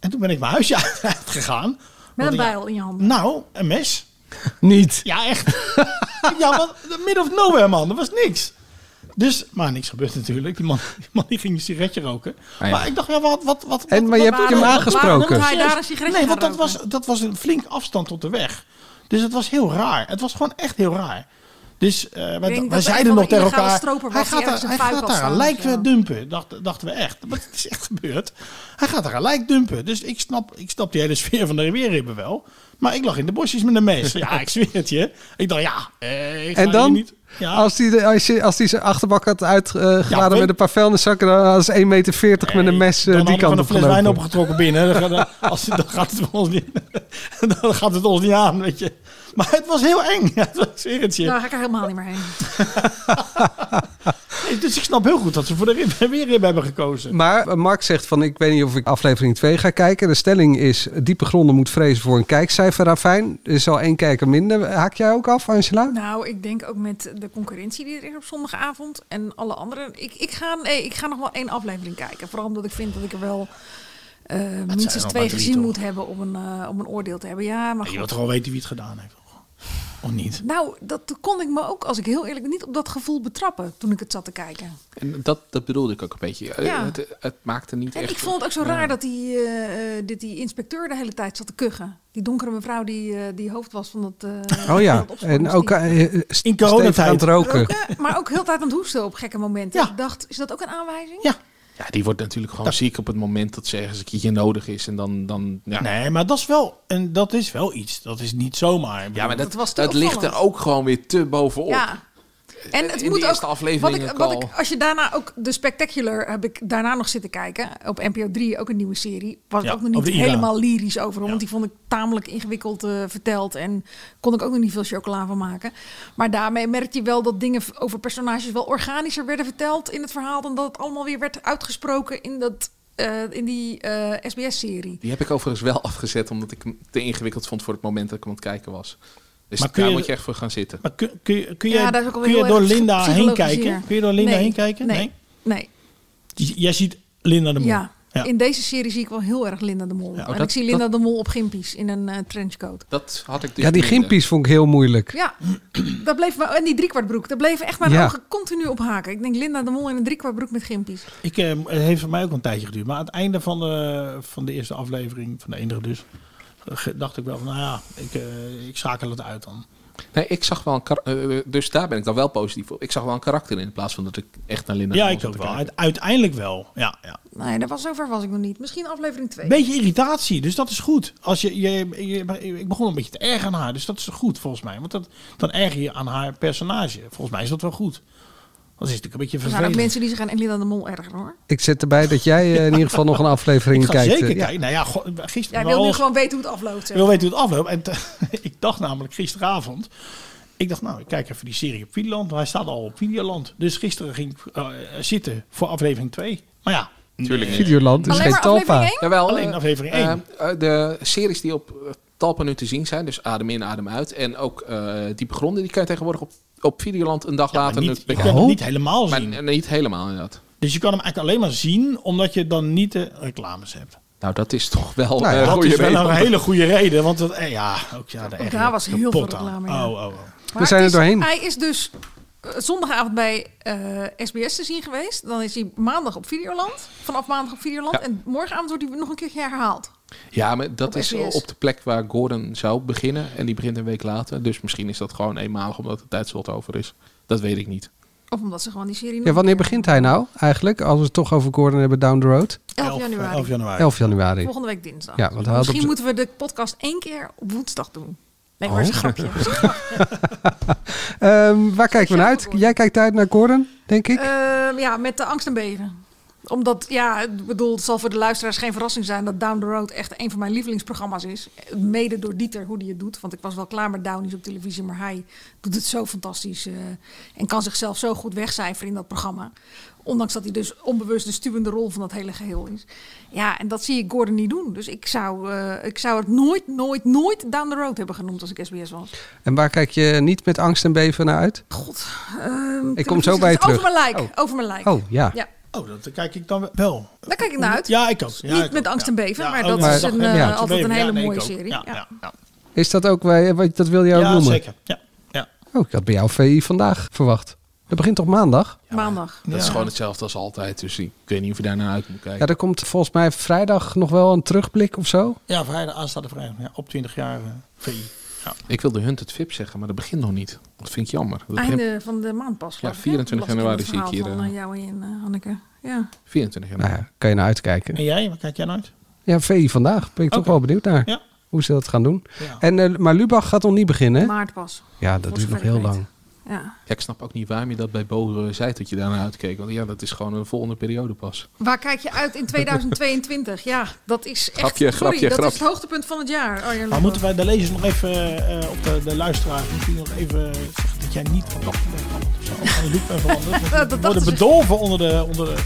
E: En toen ben ik mijn huisje uit, uitgegaan.
D: Met een
E: Want ik-
D: bijl in je handen.
E: nou, een mes.
C: Niet.
E: Ja, echt. ja, want midden of nowhere, man. Dat was niks. Dus, maar niks gebeurt natuurlijk. Die man die, man die ging een sigaretje roken.
C: Ah, ja.
E: Maar ik dacht, ja, wat... wat, wat
C: En, maar je hebt hem aangesproken.
D: hij daar een sigaretje gaan
E: Nee, want dat
D: roken?
E: was, dat was een flink afstand tot de weg. Dus het was heel raar. Het was gewoon echt heel raar. Dus eh,
D: denk
E: wij,
D: dat
E: wij
D: er
E: zeiden
D: een
E: nog
D: van de
E: tegen
D: illegale
E: elkaar,
D: stroper was
E: hij
D: die
E: gaat
D: ergens
E: daar,
D: een
E: hij
D: fuik
E: gaat
D: had
E: daar
D: staan
E: een
D: of
E: lijk
D: zo.
E: weer dumpen, dacht, dachten we echt. Maar het is echt gebeurd. Hij gaat daar een lijk dumpen. Dus ik snap, ik snap die hele sfeer van de rivierribben wel. Maar ik lag in de bosjes met een mes. Ja, ik zweer het je. Ik dacht, ja, eh, ik ga
C: En
E: hier
C: dan,
E: niet. Ja.
C: als die, de- als, je, als die zijn achterbak had
E: Ja,
C: uitgeladen
E: we-
C: met een paar vuilniszakken, dan hadden ze 1,40 meter met een mes eh, die
E: Dan had ik
C: kant
E: van een
C: op
E: fles wijn
C: gelopen.
E: opgetrokken binnen. Dan, gaat- als, dan, gaat het ons niet, dan gaat het ons niet aan, weet je. Maar het was heel eng. Ja, ik zweer het je.
D: Daar ga ik er helemaal niet meer heen.
E: Dus ik snap heel goed dat ze voor de rib, weer rib hebben gekozen.
C: Maar eh, Mark zegt van ik weet niet of ik aflevering 2 ga kijken. De stelling is eh, diepe gronden moet vrezen voor een kijkcijferravijn. Er is al één kijker minder. Haak jij ook af, Angela?
D: Nou, ik denk ook met de concurrentie die er is op zondagavond en alle andere. Ik, ik, ga, nee, ik ga nog wel één aflevering kijken. Vooral omdat ik vind dat ik er wel eh,
E: nog
D: minstens
E: maar
D: twee
E: drie,
D: gezien
E: toch?
D: moet hebben om een, eh, om een oordeel te hebben. Ja, maar
E: Je wilt
D: goed.
E: toch wel weten wie het gedaan heeft. Of niet?
D: Nou, dat kon ik me ook, als ik heel eerlijk ben, niet op dat gevoel betrappen toen ik het zat te kijken.
K: En dat, dat bedoelde ik ook een beetje. Eh,
D: Ja.
K: Het, het maakte niet
D: En
K: echt...
D: ik vond het ook zo
K: Ja.
D: raar dat die, eh, eh, dit die inspecteur de hele tijd zat te kuchen. Die donkere mevrouw die, eh, die hoofd was van dat... eh,
C: Oh ja,
D: van dat
C: en ook
D: opsporingsteam.
C: eh, eh, st-
E: In coronatijd.
C: stevig aan het roken.
D: Maar ook heel de tijd aan het hoesten op gekke momenten. Ik dacht, is dat ook een aanwijzing?
K: Ja, die wordt natuurlijk gewoon ziek op het moment dat ze ergens een keertje nodig is. En dan... dan ja.
E: Nee, maar dat is wel, en dat is wel iets. Dat is niet zomaar.
K: Ja, maar dat,
D: Dat was
K: dat,
D: te
K: ligt er
D: opvallend.
K: ook gewoon weer te bovenop.
D: Ja. En het
K: In de
D: moet
K: eerste
D: ook,
K: aflevering
D: wat ik,
K: ook
D: wat
K: al.
D: ik, als je daarna ook de Spectacular heb ik daarna nog zitten kijken op NPO 3, ook een nieuwe serie, was ik
E: Ja,
D: ook nog
E: over
D: niet
E: de Ira.
D: helemaal lyrisch over, want die vond ik tamelijk ingewikkeld eh, verteld en kon ik ook nog niet veel chocola van maken. Maar daarmee merk je wel dat dingen v- over personages wel organischer werden verteld in het verhaal dan dat het allemaal weer werd uitgesproken in dat eh, in die SBS-serie.
K: Die heb ik overigens wel afgezet, omdat ik hem te ingewikkeld vond voor het moment dat ik hem aan het kijken was. Dus
E: Maar kun
K: daar
E: je-
K: moet je echt voor gaan zitten.
E: Maar kun, kun, je- kun
D: Ja,
E: je,
D: daar is ook wel
E: kun je
D: heel
E: door
D: erg
E: Linda heen
D: psychologisch
E: kijken?
D: hier.
E: Kun je door Linda
D: Nee.
E: heen kijken?
D: Nee. Nee.
E: J- Jij ziet Linda de Mol.
D: Ja. In deze serie zie ik wel heel erg Linda de Mol.
K: Ja. Oh,
D: en
K: dat-
D: ik zie Linda de Mol op gimpies in een eh, trenchcoat.
K: Dat had ik dus
C: Ja, die
K: minder.
C: gimpies vond ik heel moeilijk.
D: Ja, dat bleef me, en die driekwart daar bleven echt mijn
C: Ja.
D: ogen continu op haken. Ik denk Linda de Mol in een driekwart broek met gimpies.
E: Ik, eh, het heeft voor mij ook een tijdje geduurd. Maar aan het einde van de, van de eerste aflevering, van de enige dus, ge- dacht ik wel van, nou ja, ik, eh, ik schakel het uit dan.
K: Nee, ik zag wel een kar- eh, dus daar ben ik dan wel positief op. Ik zag wel een karakter in, in plaats van dat ik echt naar Linda
E: ja,
K: Mol
E: ik
K: zat
E: ook
K: te
E: wel.
K: kijken.
E: Uite- Uiteindelijk wel, ja. ja.
D: Nee, daar was zover was ik nog niet. Misschien aflevering 2.
E: Beetje irritatie, dus dat is goed. Als je, je, je- ik begon een beetje te erg aan haar, dus dat is goed volgens mij. Want dat, dan erger je aan haar personage. Volgens mij is dat wel goed. Dat is natuurlijk een beetje
D: Er zijn ook
E: vervelend.
D: mensen die zich aan Linda de Mol ergeren hoor.
C: Ik zet erbij dat jij eh, in ieder geval nog een aflevering
E: Ik ga
C: kijkt.
E: zeker
C: eh, Ja.
E: kijken. Nou ja, go-
D: Jij
E: gisteren waren
D: wil
E: al-
D: nu gewoon weten hoe het afloopt.
E: Ik
D: zeg.
E: wil weten hoe het afloopt. En t- ik dacht namelijk gisteravond. Ik dacht, nou, ik kijk even die serie op Videoland. Hij staat al op Videoland. Dus gisteren ging ik eh, zitten voor aflevering 2. Maar ja.
K: Tuurlijk niet.
C: Videoland is geen talpa.
K: Jawel,
E: Alleen
K: eh,
E: aflevering
K: eh,
E: één.
K: eh, de series die op eh, Talpa nu te zien zijn, dus Adem in, Adem uit. En ook eh Diepe Gronden, die kan je tegenwoordig op, op Videoland een dag later
E: niet-
K: nu-
E: je kunt hem Oh. niet helemaal
K: maar,
E: zien.
K: eh, Niet helemaal, inderdaad.
E: Dus je kan hem eigenlijk alleen maar zien omdat je dan niet de reclames hebt.
K: Nou, dat is toch wel
E: Nou
K: eh
E: ja, dat
K: goede
E: is wel
K: reden.
E: een hele goede reden. Want dat, eh, ja, ook ja,
D: Ook daar was heel veel reclame, ja.
E: Oh, oh, oh.
D: Maar
C: zijn
D: het
C: er
D: is-
C: doorheen.
D: Hij is dus eh, zondagavond bij eh, SBS te zien geweest. Dan is hij maandag op Videoland. Vanaf maandag op Videoland.
K: Ja.
D: En morgenavond wordt hij nog een keertje herhaald.
K: Ja, maar dat
D: Op
K: is
D: SBS.
K: op de plek waar Gordon zou beginnen. En die begint een week later. Dus misschien is dat gewoon eenmalig omdat het tijdslot over is. Dat weet ik niet.
D: Of omdat ze gewoon die serie
C: Ja, wanneer begint hij nou eigenlijk? Als we het toch over Gordon hebben down the road.
D: 11 januari.
E: 11 januari.
C: 11 januari.
D: Volgende week dinsdag.
C: nou? Ja, want hij had
D: Misschien
C: op-
D: moeten we de podcast één keer op woensdag doen. Nee, maar
C: Oh.
D: dat is een grapje.
C: Ehm, waar kijken we naar uit? Jij kijkt uit naar Gordon, denk ik.
D: Eh, ja, met de angst en beven. Omdat, ja, ik bedoel, het zal voor de luisteraars geen verrassing zijn dat Down the Road echt een van mijn lievelingsprogramma's is. Mede door Dieter, hoe die het doet. Want ik was wel klaar met Downies op televisie, maar hij doet het zo fantastisch. eh, en kan zichzelf zo goed wegcijferen in dat programma. Ondanks dat hij dus onbewust de stuwende rol van dat hele geheel is. Ja, en dat zie ik Gordon niet doen. Dus ik zou, eh, ik zou het nooit, nooit, nooit Down the Road hebben genoemd als ik SBS was.
C: En waar kijk je niet met angst en beven naar uit?
D: God. Ehm,
C: Ik kom zo bij je
D: televisie-
C: terug.
D: Over mijn lijk.
C: Oh.
D: Over mijn lijk.
C: Oh, ja.
D: ja.
E: Oh, dat kijk ik dan wel.
D: Daar kijk ik naar uit.
E: Ja, ik ook. Ja,
D: Niet
E: ik
D: met
E: ook.
D: angst
E: Ja.
D: en beven,
E: Ja,
D: maar
E: oh,
D: dat
C: ja.
D: is een,
C: Ja.
D: eh,
C: Angst en
D: altijd een
E: beven. Ja,
D: hele
E: nee, ik
D: mooie
E: ook.
D: serie.
E: Ja,
D: Ja,
E: ja, ja.
C: Is dat ook, waar- wat- dat wil jij ook
E: Ja,
C: noemen?
E: zeker. Ja. Ja.
C: Oh, ik had bij jou VI vandaag verwacht. Dat begint toch maandag?
D: Maandag.
K: Dat is gewoon hetzelfde als altijd. Dus ik weet niet of je daar naar uit moet kijken.
C: Ja, er komt volgens mij vrijdag nog wel een terugblik of zo.
E: ja, vrijdag, aanstaande vrijdag. Ja, op 20 jaar eh, VI. Ja.
K: Ik wilde Hunt het VIP zeggen, maar dat begint nog niet. Dat vind ik jammer. Dat begint-
D: Einde van de maand pas. geloof ik, hè?
K: 24
D: Las
K: januari
D: het verhaal
K: zie ik hier,
D: Van
K: eh,
D: eh, jou en eh, Hanneke. Ja.
K: 24
C: Nou ja, kan je naar uitkijken.
E: En jij, waar kijk jij naar uit?
C: Ja, VI vandaag. Ben ik toch
E: Oké.
C: wel benieuwd naar.
E: Ja.
C: Hoe ze dat gaan doen. En, eh, maar Lubach gaat nog niet beginnen. hè?
D: Maart pas.
C: Ja, dat
D: Voor
C: duurt nog
D: zover
C: heel
D: ik weet.
C: lang.
D: Ja.
K: Ja, ik snap ook niet waarom je dat bij Bo eh, zei dat je daarnaar uitkeek. Want ja, dat is gewoon een volgende periode pas.
D: Waar kijk je uit in 2022? Ja, dat is echt...
K: Grapje,
D: sorry,
K: grapje,
D: dat
K: grapje.
D: is het hoogtepunt van het jaar. Oh, Arjen
E: Maar
D: Lubach.
E: moeten wij de lezers nog even, eh, op de, de luisteraars, misschien nog even zeggen dat jij niet van dag bent veranderd of zo. Of van de look bent
D: Dat- dat
E: veranderd. We worden
D: dachten ze.
E: bedolven onder de, onder de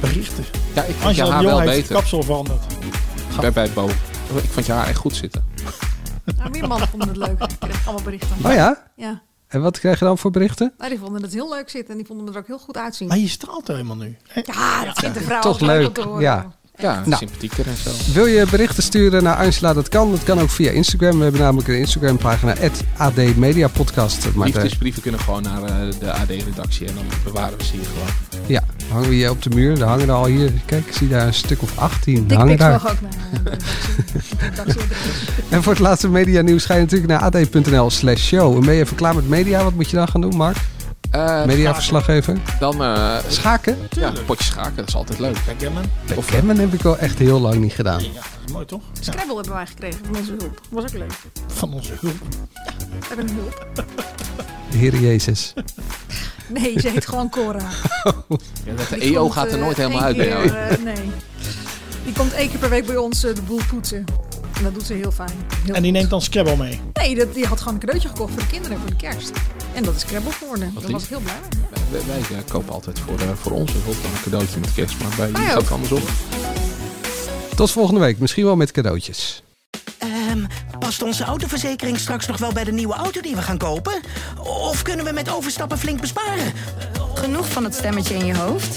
E: berichten.
K: Ja, ik vond je
E: Angela de
K: haar
E: Jong
K: wel
E: heeft
K: beter.
E: kapsel veranderd.
K: Bij, bij Bo. Ik vond je haar echt goed zitten.
D: Nou, meer mannen vonden het leuk. Ik kreeg allemaal berichten.
C: Oh ja?
D: Ja.
C: En wat krijg je dan voor berichten?
D: Nou, die vonden het heel leuk zitten en die vonden me er ook heel goed uitzien.
E: Maar je straalt er helemaal nu.
D: Ja, dat vindt de vrouw
C: Toch
D: altijd
C: leuk.
D: om te horen.
C: Ja.
K: Ja,
C: Nou.
K: sympathieker en zo.
C: Wil je berichten sturen naar Angela? Dat kan. Dat kan ook via Instagram. We hebben namelijk een Instagram-pagina, @admediapodcast. Maar de-
K: Liefdesbrieven kunnen gewoon naar eh, de AD-redactie en dan bewaren we ze hier gewoon.
C: ja, hangen we hier op de muur. Daar hangen er al hier. Kijk, ik zie daar een stuk of 18. hangen
D: Dickpics
C: daar.
D: mag ook naar. eh,
C: En voor het laatste media nieuws ga je natuurlijk naar ad.nl slash show. En ben je even klaar met media? Wat moet je dan gaan doen, Mark?
K: Eh,
C: Mediaverslaggever?
K: Dan, eh,
C: schaken?
K: Ja, potje schaken, dat is altijd leuk. eh, Backgammon?
C: Backgammon heb ik al echt heel lang niet gedaan.
E: Dat is mooi toch?
D: Scrabble hebben wij gekregen van onze hulp. Was ook leuk.
E: Van onze hulp.
D: We hebben een hulp.
C: De Heer Jezus.
D: Nee, ze heet gewoon Cora.
K: de
D: Die
K: EO
D: komt,
K: E gaat er
D: eh,
K: nooit helemaal
D: één
K: uit bij
D: keer,
K: jou.
D: eh, nee. Die komt één keer per week bij ons eh, de boel poetsen. En dat doet ze heel fijn. Heel
E: En die neemt dan Scrabble mee.
D: Nee, dat, die had gewoon een cadeautje gekocht voor de kinderen voor de kerst. En dat is Scrabble geworden. Daar
K: lief.
D: was ik heel blij mee.
K: Wij, wij, eh, kopen altijd voor, eh, voor onze hulp dan een cadeautje met kerst, maar bij jullie
D: Ah, ja.
K: gaat het andersom.
C: Tot volgende week. Misschien wel met cadeautjes.
A: Ehm, past onze autoverzekering straks nog wel bij de nieuwe auto die we gaan kopen? Of kunnen we met overstappen flink besparen?
B: Genoeg van het stemmetje in je hoofd?